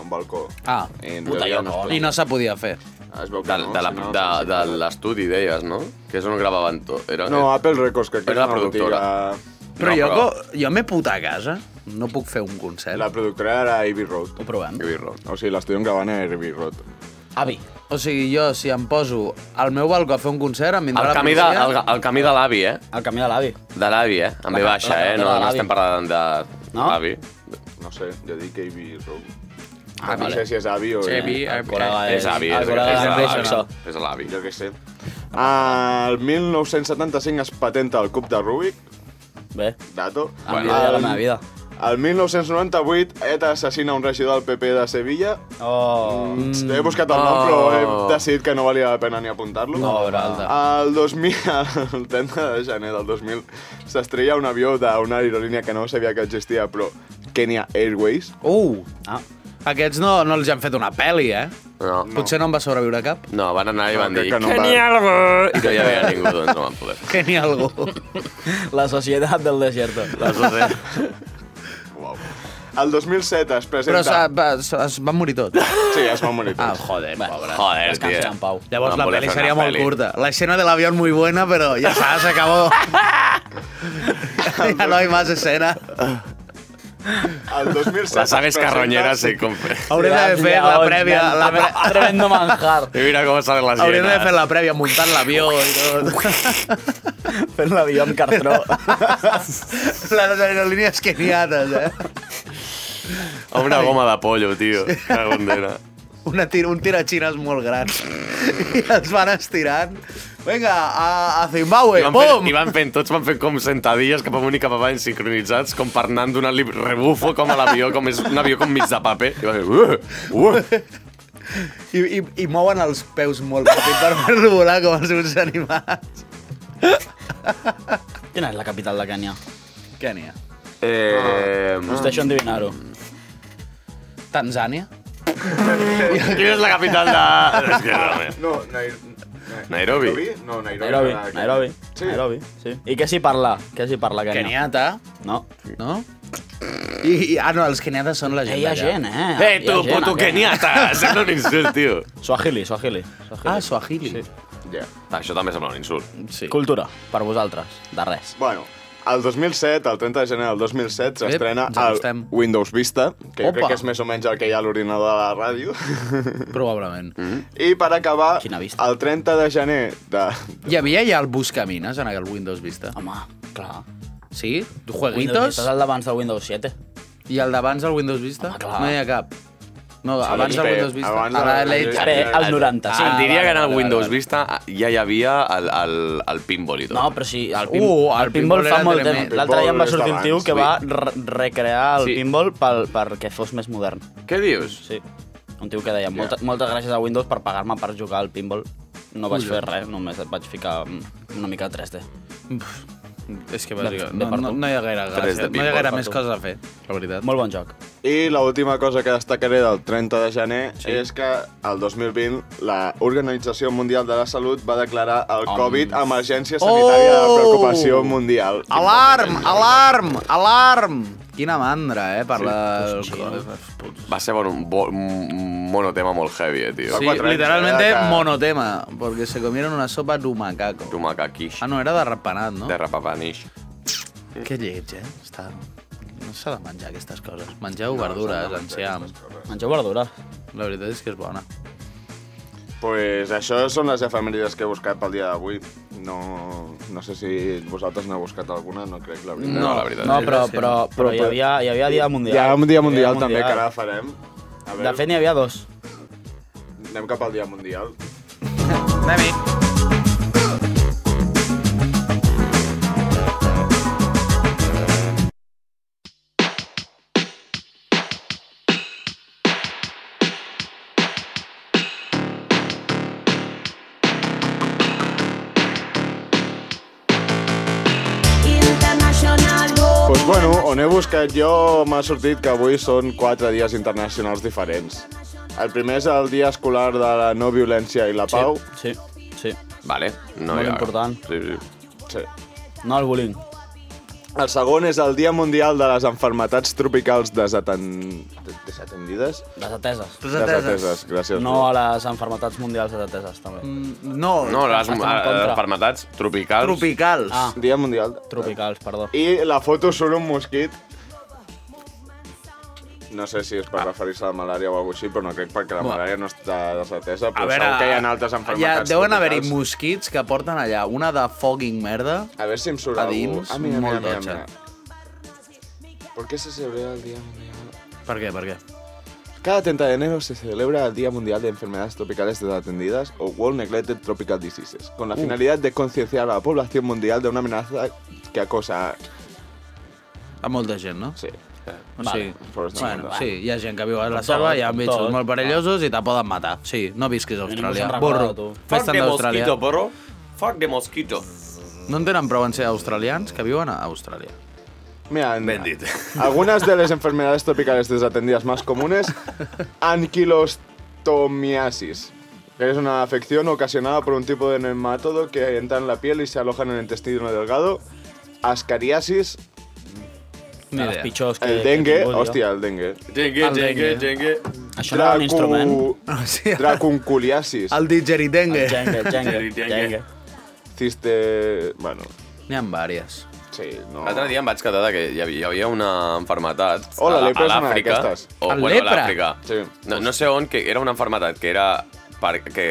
[SPEAKER 2] un balcó.
[SPEAKER 7] Ah.
[SPEAKER 2] I en
[SPEAKER 6] Puta,
[SPEAKER 2] teoria
[SPEAKER 6] jo no.
[SPEAKER 7] I no se podia fer.
[SPEAKER 2] Es veu que
[SPEAKER 6] De,
[SPEAKER 2] no,
[SPEAKER 6] de la-
[SPEAKER 2] si no,
[SPEAKER 6] de,
[SPEAKER 2] sí, sí,
[SPEAKER 6] de
[SPEAKER 2] sí.
[SPEAKER 6] l'estudi, deies, no? Que és on gravaven tot. Era,
[SPEAKER 2] No, Apple Records, que, que
[SPEAKER 6] Era
[SPEAKER 2] és
[SPEAKER 6] la
[SPEAKER 2] una botiga...
[SPEAKER 7] Però,
[SPEAKER 6] No,
[SPEAKER 7] jo,
[SPEAKER 6] però-
[SPEAKER 7] co- jo m'he putat a casa. No puc fer un concert.
[SPEAKER 2] La productora era Abbey Road.
[SPEAKER 7] Ho provem.
[SPEAKER 6] Heavy Road.
[SPEAKER 2] O sigui, l'estudi on van era Abbey Road.
[SPEAKER 8] Avi.
[SPEAKER 7] O sigui, jo, si em poso al meu balcó a fer un concert, em vindrà
[SPEAKER 6] El
[SPEAKER 7] la
[SPEAKER 6] camí, de,
[SPEAKER 7] policia...
[SPEAKER 6] el, el camí de l'avi, eh?
[SPEAKER 8] El camí de l'avi.
[SPEAKER 6] De l'avi, eh? Amb
[SPEAKER 8] La
[SPEAKER 6] B
[SPEAKER 8] ca-
[SPEAKER 6] baixa, eh?
[SPEAKER 8] la
[SPEAKER 6] No,
[SPEAKER 8] carretera de
[SPEAKER 6] no estem
[SPEAKER 8] l'avi.
[SPEAKER 6] parlant de
[SPEAKER 8] No?
[SPEAKER 6] l'avi.
[SPEAKER 2] No sé, jo dic Abbey Road. Ah, no sé si és avi o...
[SPEAKER 8] Corega
[SPEAKER 6] És avi, és, és,
[SPEAKER 8] Corega
[SPEAKER 6] és,
[SPEAKER 8] és
[SPEAKER 6] l'avi,
[SPEAKER 8] anglosaxó.
[SPEAKER 6] és l'avi.
[SPEAKER 2] Jo què sé. El 1975 es patenta el cub de Rubik,
[SPEAKER 8] Bé,
[SPEAKER 2] dato.
[SPEAKER 8] envidia de Ah, la meva vida.
[SPEAKER 2] El 1998, ETA assassina un regidor del PP de Sevilla.
[SPEAKER 8] Oh.
[SPEAKER 2] Mm. He buscat el nom, però he decidit que no valia la pena ni apuntar-lo.
[SPEAKER 8] No, Bralda.
[SPEAKER 2] El 2000, el 30 de gener del 2000, s'estrella un avió d'una aerolínia que no sabia que existia, però Kenya Airways.
[SPEAKER 7] Uh!
[SPEAKER 8] Ah.
[SPEAKER 7] Aquests no, no els han fet una pel·li, eh?
[SPEAKER 6] No.
[SPEAKER 7] Potser no en va sobreviure cap.
[SPEAKER 6] No, van anar i van
[SPEAKER 2] crec
[SPEAKER 6] dir...
[SPEAKER 2] que no van.
[SPEAKER 6] algo! I no hi havia ningú, doncs no van poder.
[SPEAKER 7] Que ni algú.
[SPEAKER 8] La societat del desierto.
[SPEAKER 6] Les dues, eh?
[SPEAKER 2] Uau. El 2007 es
[SPEAKER 7] Però
[SPEAKER 2] presenta...
[SPEAKER 7] s'ha- va, s'ha- es van morir tots.
[SPEAKER 2] Sí, es va morir.
[SPEAKER 7] Ah,
[SPEAKER 2] tots.
[SPEAKER 7] joder, pobre.
[SPEAKER 6] Joder,
[SPEAKER 8] Descansa en
[SPEAKER 6] tio.
[SPEAKER 8] pau.
[SPEAKER 7] Llavors
[SPEAKER 6] Van
[SPEAKER 7] la
[SPEAKER 6] voler
[SPEAKER 7] pel·li
[SPEAKER 6] fer una
[SPEAKER 7] seria molt
[SPEAKER 6] peli.
[SPEAKER 7] curta. La escena de l'avió és muy buena, però ja saps, acabó. ja no hi més escena.
[SPEAKER 2] El 2007
[SPEAKER 6] Les aves
[SPEAKER 2] es presenta-
[SPEAKER 6] carronyeres, sí, com...
[SPEAKER 7] Haurem d'haver fet la prèvia... La pre...
[SPEAKER 8] Tremendo manjar.
[SPEAKER 6] I mira com salen les
[SPEAKER 7] Haurem d'haver fet
[SPEAKER 6] hienes.
[SPEAKER 7] la prèvia muntant l'avió i tot.
[SPEAKER 8] Fent l'avió amb cartró.
[SPEAKER 7] Les aerolínies keniates, eh?
[SPEAKER 6] Amb una goma de pollo, tio. Cago en Déu.
[SPEAKER 7] Una tir un tirachines molt gran. I els van estirant. Vinga, a, a Zimbabue,
[SPEAKER 6] I van, fent,
[SPEAKER 7] pum!
[SPEAKER 6] I van fent, tots van fent com sentadilles cap amunt i cap avall sincronitzats, com per anar donant-li rebufo com a l'avió, com és un avió com mig de paper. I va fer... Uh, uh.
[SPEAKER 7] I, i, i mouen els peus molt petit per fer-lo volar com els uns animals.
[SPEAKER 8] Quina és la capital de Kenya?
[SPEAKER 7] Kènia.
[SPEAKER 6] Eh,
[SPEAKER 8] Us deixo endevinar-ho.
[SPEAKER 7] Tanzània.
[SPEAKER 6] quina és la capital de... És que, eh. realment.
[SPEAKER 2] No, Nai-
[SPEAKER 6] Nairobi.
[SPEAKER 2] Nairobi? No, Nairobi.
[SPEAKER 8] Nairobi,
[SPEAKER 2] era aquí.
[SPEAKER 8] Nairobi,
[SPEAKER 2] Sí.
[SPEAKER 8] Nairobi, sí. I què s'hi parla? Què s'hi parla, Kenya?
[SPEAKER 7] Keniata,
[SPEAKER 8] No.
[SPEAKER 7] no? I, i, ah, no, els keniates són la
[SPEAKER 8] Eh,
[SPEAKER 7] gent
[SPEAKER 8] hi ha
[SPEAKER 7] d'allà.
[SPEAKER 8] gent, eh?
[SPEAKER 6] Eh,
[SPEAKER 8] Hi ha
[SPEAKER 6] tu,
[SPEAKER 8] gent,
[SPEAKER 6] puto
[SPEAKER 8] eh?
[SPEAKER 6] keniata! Sembla un insult, tio.
[SPEAKER 8] Swahili, Swahili. Swahili.
[SPEAKER 7] Ah, Swahili. Sí.
[SPEAKER 2] Yeah.
[SPEAKER 6] Això també sembla un insult.
[SPEAKER 7] sí.
[SPEAKER 8] Cultura, per vosaltres, de res.
[SPEAKER 2] Bueno, el 2007, el 30 de gener del 2007, s'estrena
[SPEAKER 7] ens
[SPEAKER 2] el
[SPEAKER 7] acostem.
[SPEAKER 2] Windows Vista, que jo
[SPEAKER 7] Opa.
[SPEAKER 2] crec que és més o menys el que hi ha a l'ordinador de la ràdio.
[SPEAKER 7] Probablement. Mm -hmm.
[SPEAKER 2] I per acabar,
[SPEAKER 8] Quina vista.
[SPEAKER 2] el 30 de gener de...
[SPEAKER 7] Hi havia ja el Buscamines en aquell Windows Vista.
[SPEAKER 8] Home, clar.
[SPEAKER 7] Sí?
[SPEAKER 8] Windows
[SPEAKER 7] Jueguitos
[SPEAKER 8] Estàs al davant del Windows 7.
[SPEAKER 7] i el d'abans del Windows Vista?
[SPEAKER 8] Home, clar.
[SPEAKER 7] No hi ha cap. No, abans del
[SPEAKER 2] bé,
[SPEAKER 7] Windows Vista.
[SPEAKER 2] abans
[SPEAKER 7] a la
[SPEAKER 2] del-
[SPEAKER 7] LH.
[SPEAKER 2] Ah,
[SPEAKER 8] Bé, el 90, sí.
[SPEAKER 7] Ah,
[SPEAKER 6] Em diria
[SPEAKER 7] vale,
[SPEAKER 6] que en el
[SPEAKER 7] vale,
[SPEAKER 6] Windows
[SPEAKER 7] vale.
[SPEAKER 6] Vista ja hi havia el, el, el pinball i tot.
[SPEAKER 8] No, però sí, el, pin,
[SPEAKER 7] Uh, el
[SPEAKER 8] el pinball
[SPEAKER 7] pinball
[SPEAKER 8] fa
[SPEAKER 7] era
[SPEAKER 8] molt
[SPEAKER 7] tremendo.
[SPEAKER 8] temps. L'altre dia em va
[SPEAKER 2] Pinball
[SPEAKER 8] sortir
[SPEAKER 2] és
[SPEAKER 8] un tio
[SPEAKER 2] d'abans,
[SPEAKER 8] que va re- recrear el
[SPEAKER 6] Sí.
[SPEAKER 8] pinball pel, perquè fos més modern.
[SPEAKER 6] Què dius?
[SPEAKER 8] Sí. Un tio que deia, "Molta- moltes gràcies a Windows per pagar-me per jugar al pinball. No vaig fer res, només et vaig ficar mm, una mica de 3D.
[SPEAKER 7] És que bàsicament,
[SPEAKER 8] de
[SPEAKER 7] no,
[SPEAKER 8] part
[SPEAKER 7] no,
[SPEAKER 8] tu.
[SPEAKER 7] no hi ha gaire
[SPEAKER 6] Tres de
[SPEAKER 7] gràcia. No hi ha
[SPEAKER 6] pinball,
[SPEAKER 7] gaire
[SPEAKER 6] part
[SPEAKER 7] més
[SPEAKER 8] tu.
[SPEAKER 7] coses a fer, la veritat.
[SPEAKER 8] Molt bon joc.
[SPEAKER 2] I l'última cosa que destacaré del 30 de gener sí. és que el 2020 l'Organització Mundial de la Salut va declarar el Covid emergència sanitària
[SPEAKER 7] Oh!
[SPEAKER 2] de preocupació mundial.
[SPEAKER 7] Alarm, alarm, alarm! Quina mandra, eh, per sí, la...
[SPEAKER 6] Va ser bueno, un, bo, un monotema molt heavy, eh, tio.
[SPEAKER 7] Sí,
[SPEAKER 2] quatre anys,
[SPEAKER 7] literalmente
[SPEAKER 2] eh, que-
[SPEAKER 7] monotema, porque se comieron una sopa de macaco.
[SPEAKER 6] Tu macaquix.
[SPEAKER 7] Ah, no, era de rapanat, no?
[SPEAKER 6] De rapapanish.
[SPEAKER 7] Que lleig, eh? Està... No s'ha de menjar aquestes coses. Mengeu no, verdures, enciam.
[SPEAKER 8] Mengeu verdures.
[SPEAKER 7] La veritat és que és bona.
[SPEAKER 2] pues això són les efemèrides que he buscat pel dia d'avui. No, no sé si vosaltres n'heu buscat alguna, no crec, la veritat.
[SPEAKER 6] No, la veritat.
[SPEAKER 8] No,
[SPEAKER 6] és
[SPEAKER 8] però,
[SPEAKER 7] que sí.
[SPEAKER 8] però, però hi, havia, hi havia Dia Mundial.
[SPEAKER 2] Ah, Hi ha un dia mundial
[SPEAKER 8] Dia
[SPEAKER 2] també, que ara farem. A veure,
[SPEAKER 8] De fet, n'hi havia dos.
[SPEAKER 2] anem cap al dia mundial.
[SPEAKER 7] Anem-hi.
[SPEAKER 2] Bueno, on he buscat jo m'ha sortit que avui són quatre dies internacionals diferents. El primer és el dia escolar de la no violència i la pau.
[SPEAKER 8] Sí, sí.
[SPEAKER 6] Vale. No
[SPEAKER 8] Molt
[SPEAKER 6] hi ha-
[SPEAKER 8] important.
[SPEAKER 6] Sí, sí.
[SPEAKER 2] Sí.
[SPEAKER 8] No al bullying.
[SPEAKER 2] El segon és el Dia Mundial de les Enfermetats Tropicals Desaten... Desatendides?
[SPEAKER 8] Les ateses.
[SPEAKER 2] Desateses, gràcies.
[SPEAKER 8] No a les enfermetats mundials de ateses,
[SPEAKER 2] Mm.
[SPEAKER 8] també.
[SPEAKER 7] No,
[SPEAKER 6] No, les
[SPEAKER 8] Estan en contra.
[SPEAKER 6] enfermetats tropicals.
[SPEAKER 7] tropicals.
[SPEAKER 8] Ah.
[SPEAKER 2] Dia Mundial... de-
[SPEAKER 8] Tropicals, perdó.
[SPEAKER 2] I la foto surt un mosquit. No sé si és
[SPEAKER 7] Ah.
[SPEAKER 2] per referir-se a la malària o alguna cosa així, però no crec perquè la malària no està desatesa, però segur que hi ha altres
[SPEAKER 7] ja,
[SPEAKER 2] enfermetats
[SPEAKER 7] deuen haver-hi
[SPEAKER 2] tropicals.
[SPEAKER 7] mosquits que porten allà una de fogging merda.
[SPEAKER 2] A ver si em surt
[SPEAKER 7] A
[SPEAKER 2] algú.
[SPEAKER 7] dins,
[SPEAKER 2] Ah, mira, mira,
[SPEAKER 7] molt
[SPEAKER 2] mira,
[SPEAKER 7] totxa.
[SPEAKER 2] mira. ¿Por qué se celebra el Día Mundial?
[SPEAKER 7] Per què, per què?
[SPEAKER 2] Cada 30 de enero se celebra el Día Mundial de Enfermedades Tropicales Desatendidas o World Neglected Tropical Diseases, con la
[SPEAKER 7] Uh.
[SPEAKER 2] finalidad de concienciar a la población mundial de una amenaza que acosa...
[SPEAKER 7] A molta gent, no?
[SPEAKER 2] Sí.
[SPEAKER 7] O sigui,
[SPEAKER 2] però és
[SPEAKER 7] bueno,
[SPEAKER 2] normal.
[SPEAKER 7] sí, hi ha gent que viu a la
[SPEAKER 8] Tot,
[SPEAKER 7] selva, hi ha
[SPEAKER 8] tot.
[SPEAKER 7] bitxos molt perillosos i te poden matar. Sí, no visquis a
[SPEAKER 8] Ningú
[SPEAKER 7] Austràlia.
[SPEAKER 8] se'n recorda de
[SPEAKER 7] Burro,
[SPEAKER 8] tu.
[SPEAKER 6] Fuck
[SPEAKER 7] fes-te'n
[SPEAKER 6] de
[SPEAKER 7] d'Austràlia.
[SPEAKER 6] mosquito, porro. Fuck de mosquito.
[SPEAKER 7] No en tenen prou en ser australians que viuen a Austràlia.
[SPEAKER 2] Mira, en-
[SPEAKER 6] Ben dit.
[SPEAKER 2] algunas de las enfermedades tropicales desatendidas más comunes, anquilostomiasis, que es una afección ocasionada por un tipo de nematodo que entra en la piel y se aloja en el intestino delgado, ascariasis,
[SPEAKER 8] Ni les pitjors que...
[SPEAKER 2] el
[SPEAKER 8] que he
[SPEAKER 2] dengue,
[SPEAKER 8] tingut jo.
[SPEAKER 2] hòstia, el dengue,
[SPEAKER 6] Jengue,
[SPEAKER 7] El
[SPEAKER 6] jengue,
[SPEAKER 7] dengue.
[SPEAKER 6] jengue.
[SPEAKER 8] Això no era un instrument?
[SPEAKER 7] O sigui,
[SPEAKER 2] Dracunculiasis.
[SPEAKER 7] El digeridengue.
[SPEAKER 8] Jenga, jenga,
[SPEAKER 6] Jenga, jenga.
[SPEAKER 8] jenga.
[SPEAKER 2] Ciste... Bueno,
[SPEAKER 7] N'hi ha vàries.
[SPEAKER 2] sí, no...
[SPEAKER 6] L'altre dia em vaig quedar de que hi havia, hi havia una enfermetat
[SPEAKER 2] Oh, la
[SPEAKER 6] a
[SPEAKER 2] lepra és una
[SPEAKER 6] l'Àfrica.
[SPEAKER 2] d'aquestes.
[SPEAKER 6] O,
[SPEAKER 7] El
[SPEAKER 6] bueno, a
[SPEAKER 7] lepra?
[SPEAKER 6] l'Àfrica.
[SPEAKER 2] Sí.
[SPEAKER 6] No, no sé on, que era una enfermetat que era per, que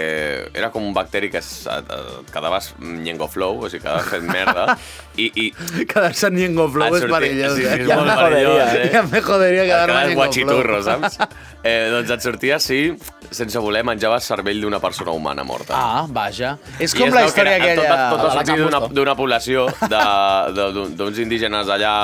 [SPEAKER 6] era com un bacteri que es- et, et quedaves llengoflou, o sigui, quedaves fent merda, i, i
[SPEAKER 7] Quedar-se en
[SPEAKER 6] Et
[SPEAKER 7] Ñengoflow és
[SPEAKER 6] sortia-
[SPEAKER 7] perillós,
[SPEAKER 6] sí, sí,
[SPEAKER 7] eh?
[SPEAKER 6] és molt perillós, eh?
[SPEAKER 7] Ja me joderia
[SPEAKER 6] et
[SPEAKER 7] quedar-me
[SPEAKER 6] quedaves
[SPEAKER 7] en Ñengoflow.
[SPEAKER 6] guachiturro, saps? Eh, doncs et sortia així, sense voler, menjaves cervell d'una persona humana morta.
[SPEAKER 7] Ah, vaja. És
[SPEAKER 6] I
[SPEAKER 7] com la
[SPEAKER 6] veu que era-
[SPEAKER 7] història aquella...
[SPEAKER 6] Tot, tot
[SPEAKER 8] de
[SPEAKER 6] va
[SPEAKER 8] la
[SPEAKER 6] sortir
[SPEAKER 8] Can
[SPEAKER 6] d'una
[SPEAKER 8] Busto.
[SPEAKER 6] d'una població de- de- d'un- d'uns indígenes allà,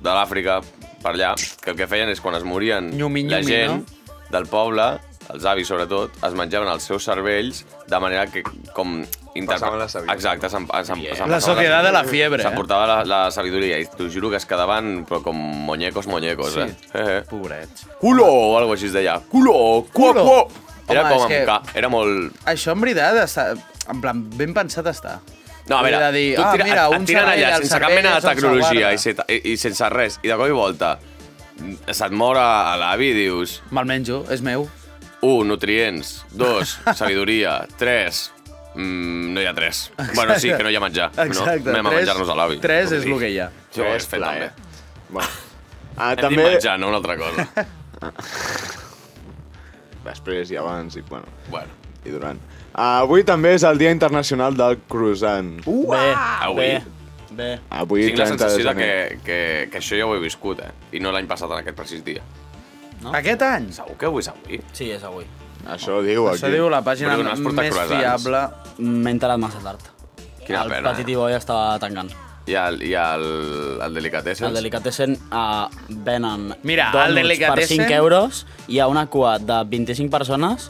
[SPEAKER 6] de l'Àfrica, per allà, que el que feien és quan es morien
[SPEAKER 7] Nyumi,
[SPEAKER 6] la
[SPEAKER 7] nyumi,
[SPEAKER 6] gent del poble, els avis sobretot, es menjaven els seus cervells de manera que com... interpre-
[SPEAKER 2] Passaven la saviesa.
[SPEAKER 6] Exacte, se'n se'n- se'n
[SPEAKER 7] La
[SPEAKER 6] passava
[SPEAKER 7] societat de la fiebre, eh?
[SPEAKER 6] S'emportava la, la sabidoria i t'ho juro que es quedaven però com muñecos, muñecos,
[SPEAKER 7] Sí.
[SPEAKER 6] eh? eh? eh.
[SPEAKER 7] Pobrets.
[SPEAKER 6] Culo o alguna cosa així es deia. Culo, cuo,
[SPEAKER 7] Culo.
[SPEAKER 6] cuo. Era
[SPEAKER 7] Home,
[SPEAKER 6] com
[SPEAKER 7] és
[SPEAKER 6] amb
[SPEAKER 7] que-
[SPEAKER 6] K, era molt...
[SPEAKER 7] Això, en veritat, està... En plan, ben pensat està.
[SPEAKER 6] No, a veure,
[SPEAKER 7] Vull dir,
[SPEAKER 6] tu
[SPEAKER 7] ah,
[SPEAKER 6] tira,
[SPEAKER 7] mira,
[SPEAKER 6] et- et
[SPEAKER 7] un
[SPEAKER 6] tiren
[SPEAKER 7] servei
[SPEAKER 6] allà
[SPEAKER 7] del
[SPEAKER 6] sense cap
[SPEAKER 7] cervell
[SPEAKER 6] mena de
[SPEAKER 7] se'n
[SPEAKER 6] tecnologia
[SPEAKER 7] salvarà.
[SPEAKER 6] i, set, i, i, sense res. I de cop i volta mm, se't mor a a l'avi i dius
[SPEAKER 7] Me'l menjo, és meu.
[SPEAKER 6] 1. Nutrients 2. Sabidoria 3. Mm, no hi ha 3. Bueno, sí, que no hi ha menjar.
[SPEAKER 7] Exacte.
[SPEAKER 6] No, anem a
[SPEAKER 7] tres-
[SPEAKER 6] menjar-nos a l'avi.
[SPEAKER 7] Tres és el que hi ha.
[SPEAKER 6] Jo ho has fet, també.
[SPEAKER 2] Bueno. Ah,
[SPEAKER 6] Hem
[SPEAKER 2] eh. també...
[SPEAKER 6] dit menjar, no una altra cosa.
[SPEAKER 2] Després i abans i, bueno,
[SPEAKER 6] bueno,
[SPEAKER 2] i durant. Ah, avui també és el Dia Internacional del Croissant. Uh,
[SPEAKER 8] Bé,
[SPEAKER 6] avui...
[SPEAKER 8] bé, bé.
[SPEAKER 2] avui
[SPEAKER 6] Tinc la
[SPEAKER 2] 30 de
[SPEAKER 6] sensació de que,
[SPEAKER 2] gener.
[SPEAKER 6] que, que això ja ho he viscut, eh? I no l'any passat, en aquest precís dia.
[SPEAKER 7] No? Aquest any.
[SPEAKER 6] Segur que avui és avui.
[SPEAKER 8] Sí, és avui.
[SPEAKER 2] Això diu aquí.
[SPEAKER 7] Això diu la pàgina
[SPEAKER 6] Però no has portat
[SPEAKER 7] més
[SPEAKER 6] croissants.
[SPEAKER 7] fiable.
[SPEAKER 8] M'he enterat massa tard.
[SPEAKER 6] Quina
[SPEAKER 8] el
[SPEAKER 6] pena.
[SPEAKER 8] Petit
[SPEAKER 6] eh?
[SPEAKER 8] Ibo ja estava tancant.
[SPEAKER 6] I el, i el, el Delicatessen.
[SPEAKER 8] Al Delicatessen uh, venen
[SPEAKER 7] Mira, al
[SPEAKER 8] donuts per
[SPEAKER 7] Delicatessen-
[SPEAKER 8] 5 euros, hi ha una cua de 25 persones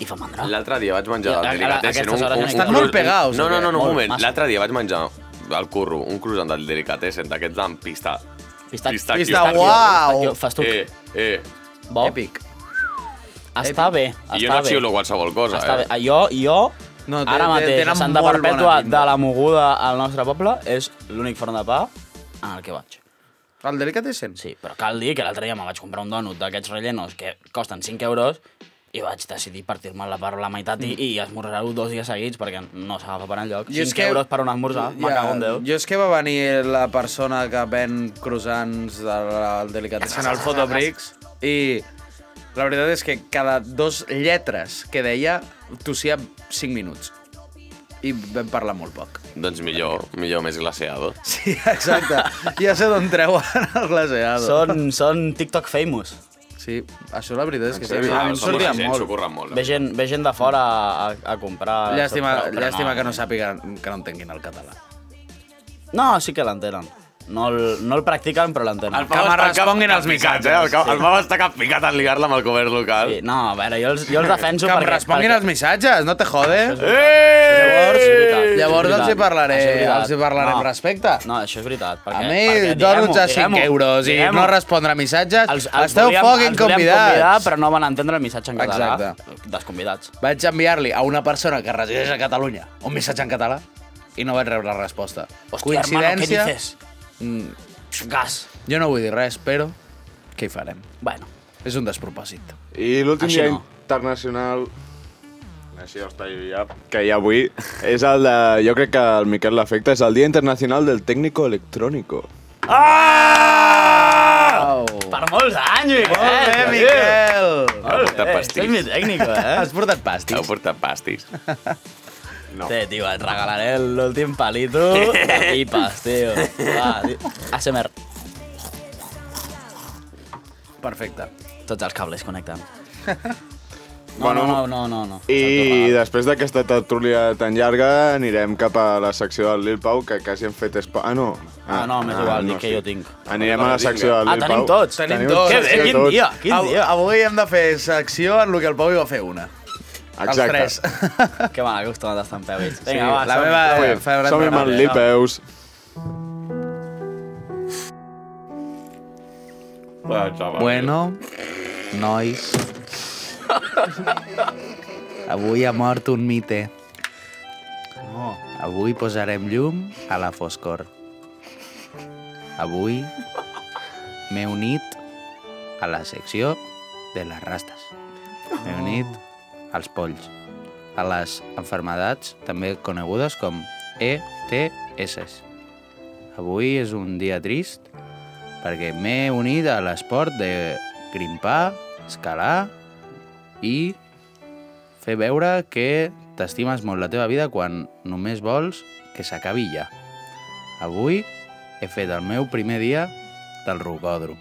[SPEAKER 8] i fa mandra.
[SPEAKER 6] L'altre dia vaig menjar
[SPEAKER 8] A- a-
[SPEAKER 6] el
[SPEAKER 8] a
[SPEAKER 6] delicatessen.
[SPEAKER 8] aquestes hores ja no hi
[SPEAKER 7] Estan molt pegaos,
[SPEAKER 6] No,
[SPEAKER 7] o
[SPEAKER 6] no, no,
[SPEAKER 7] què?
[SPEAKER 6] no un
[SPEAKER 8] Molt
[SPEAKER 6] moment.
[SPEAKER 8] massa.
[SPEAKER 6] L'altre dia vaig menjar al curro un croissant del delicatessen, d'aquests amb pista.
[SPEAKER 8] Pistac-
[SPEAKER 6] Pistac-
[SPEAKER 7] Pista,
[SPEAKER 6] Pistachio.
[SPEAKER 7] uau!
[SPEAKER 8] Fas tu.
[SPEAKER 6] Eh, eh.
[SPEAKER 8] Bo.
[SPEAKER 7] Èpic.
[SPEAKER 8] Està bé, està
[SPEAKER 6] I jo no
[SPEAKER 8] bé.
[SPEAKER 6] xiulo qualsevol cosa,
[SPEAKER 8] Està bé.
[SPEAKER 6] eh?
[SPEAKER 8] Ah, Jo, jo
[SPEAKER 7] No,
[SPEAKER 8] no,
[SPEAKER 7] té-
[SPEAKER 8] ara
[SPEAKER 7] té-
[SPEAKER 8] mateix,
[SPEAKER 7] tenen
[SPEAKER 8] a Santa
[SPEAKER 7] molt bona
[SPEAKER 8] Perpètua
[SPEAKER 7] pinta.
[SPEAKER 8] de la moguda al nostre poble, és l'únic forn de pa en el que vaig.
[SPEAKER 7] El Delicatessen?
[SPEAKER 8] Sí, però cal dir que l'altre dia me vaig comprar un donut d'aquests rellenos que costen 5 euros i vaig decidir partir-me la part a la meitat i, i esmorzar-ho dos dies seguits perquè no s'agafa per enlloc.
[SPEAKER 7] Jo Mm. és
[SPEAKER 8] 5 que... euros per un esmorzar, yeah. me cago en Déu.
[SPEAKER 7] Jo és que va venir la persona que ven croissants del del Delicatessen al Fotobricks i la veritat és que cada dos lletres que deia tossia 5 minuts i vam parlar molt poc.
[SPEAKER 6] Doncs millor, millor més glaciado.
[SPEAKER 7] Sí, exacte. Ja sé d'on treuen el glaseado.
[SPEAKER 8] Són, són TikTok famous.
[SPEAKER 7] Sí, això la veritat és que sí.
[SPEAKER 6] Sí,
[SPEAKER 7] A mi em
[SPEAKER 6] som
[SPEAKER 7] sortia
[SPEAKER 6] molta gent, s'ho
[SPEAKER 7] molt.
[SPEAKER 6] curren molt.
[SPEAKER 8] Ve
[SPEAKER 6] eh?
[SPEAKER 8] gent, ve gent de fora a, a comprar...
[SPEAKER 7] Llàstima,
[SPEAKER 8] però- però
[SPEAKER 7] llàstima que no sàpiguen, que no entenguin el català.
[SPEAKER 8] No, sí que l'entenen. No el, no el practiquen, però l'entenen.
[SPEAKER 6] El Pau que me responguin els missatges, eh? El,
[SPEAKER 8] sí.
[SPEAKER 6] el Pau està cap picat en ligar-la amb el comerç local.
[SPEAKER 8] Sí, no, a veure, jo els, jo els defenso
[SPEAKER 7] Que em
[SPEAKER 8] perquè...
[SPEAKER 7] responguin els missatges, no te jode.
[SPEAKER 6] Llavors,
[SPEAKER 8] Llavors,
[SPEAKER 7] Llavors els hi parlaré, els hi parlaré amb respecte.
[SPEAKER 8] No, això és veritat.
[SPEAKER 7] A
[SPEAKER 8] Perquè,
[SPEAKER 7] mi,
[SPEAKER 8] perquè,
[SPEAKER 7] dono a
[SPEAKER 8] diguem-ho,
[SPEAKER 7] 5
[SPEAKER 8] diguem-ho,
[SPEAKER 7] euros i
[SPEAKER 8] diguem-ho.
[SPEAKER 7] no respondre a missatges.
[SPEAKER 8] Els, els
[SPEAKER 7] Esteu
[SPEAKER 8] volíem-
[SPEAKER 7] fucking
[SPEAKER 8] els volíem Convidar,
[SPEAKER 7] convidats.
[SPEAKER 8] però no van entendre el missatge en català.
[SPEAKER 7] Exacte.
[SPEAKER 8] Desconvidats.
[SPEAKER 7] Vaig enviar-li a una persona que resideix a Catalunya un missatge en català i no vaig rebre resposta.
[SPEAKER 8] Hòstia, hermano, què dices? Gas.
[SPEAKER 7] jo no vull dir res, però què hi farem?
[SPEAKER 8] Bueno,
[SPEAKER 7] És un despropòsit.
[SPEAKER 2] I l'últim
[SPEAKER 8] Això
[SPEAKER 2] dia
[SPEAKER 8] no.
[SPEAKER 2] internacional Nació, està ja, que hi ha avui és el de, jo crec que el Miquel l'afecta, és el Dia Internacional del Técnico Electrónico.
[SPEAKER 8] per molts anys, Miquel!
[SPEAKER 7] Molt bé, Miquel!
[SPEAKER 6] Heu portat
[SPEAKER 8] Soy mi
[SPEAKER 6] pastís.
[SPEAKER 8] técnico, eh?
[SPEAKER 7] Has portat pastis?
[SPEAKER 6] Heu portat pastís.
[SPEAKER 8] No. Te, tío, et regalaré el últim palito de pipas, tío. Va, tio. ASMR.
[SPEAKER 7] Perfecte.
[SPEAKER 8] Tots els cables connecten. No,
[SPEAKER 2] Bueno,
[SPEAKER 8] no, no, no, no. no.
[SPEAKER 2] I després d'aquesta tertúlia tan llarga anirem cap a la secció del Lil Pau, que quasi hem fet... Espo... Ah, no.
[SPEAKER 8] Ah, no, m'és igual, dic que jo tinc.
[SPEAKER 2] Anirem a la secció del
[SPEAKER 8] Ah,
[SPEAKER 2] Lil Pau.
[SPEAKER 8] tenim tots.
[SPEAKER 7] Tenim tots.
[SPEAKER 8] Que
[SPEAKER 7] Que
[SPEAKER 8] bé,
[SPEAKER 7] bé,
[SPEAKER 8] quin dia, quin
[SPEAKER 7] Av
[SPEAKER 8] dia.
[SPEAKER 7] avui hem de fer secció en el que el Pau hi va fer una.
[SPEAKER 2] Exacte.
[SPEAKER 7] Els tres.
[SPEAKER 8] Que m'ha acostumat a estar en peu, ells.
[SPEAKER 7] Sí,
[SPEAKER 8] Vinga, va,
[SPEAKER 7] la
[SPEAKER 8] som-
[SPEAKER 7] meva-
[SPEAKER 2] Som-hi,
[SPEAKER 7] Eh, Ferran
[SPEAKER 2] som-hi amb el
[SPEAKER 7] Fernández,
[SPEAKER 2] Lil
[SPEAKER 7] no?
[SPEAKER 2] Peus.
[SPEAKER 7] Bueno, nois. Avui ha mort un mite. Avui posarem llum a la foscor. Avui m'he unit a la secció de les rastes. M'he unit als polls, a les enfermedats també conegudes com ETS. Avui és un dia trist perquè m'he unit a l'esport de grimpar, escalar i fer veure que t'estimes molt la teva vida quan només vols que s'acabi ja. Avui he fet el meu primer dia del rocòdrom.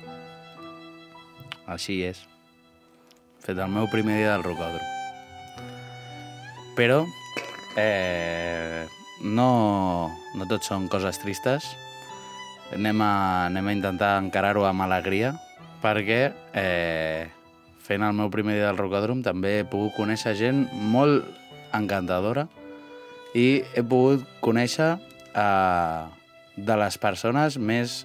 [SPEAKER 7] Així és. He fet el meu primer dia del rocòdrom. Però eh, no, no tot són coses tristes, anem a, anem a intentar encarar-ho amb alegria perquè eh, fent el meu primer dia del Rocòdrom també he pogut conèixer gent molt encantadora i he pogut conèixer eh, de les persones més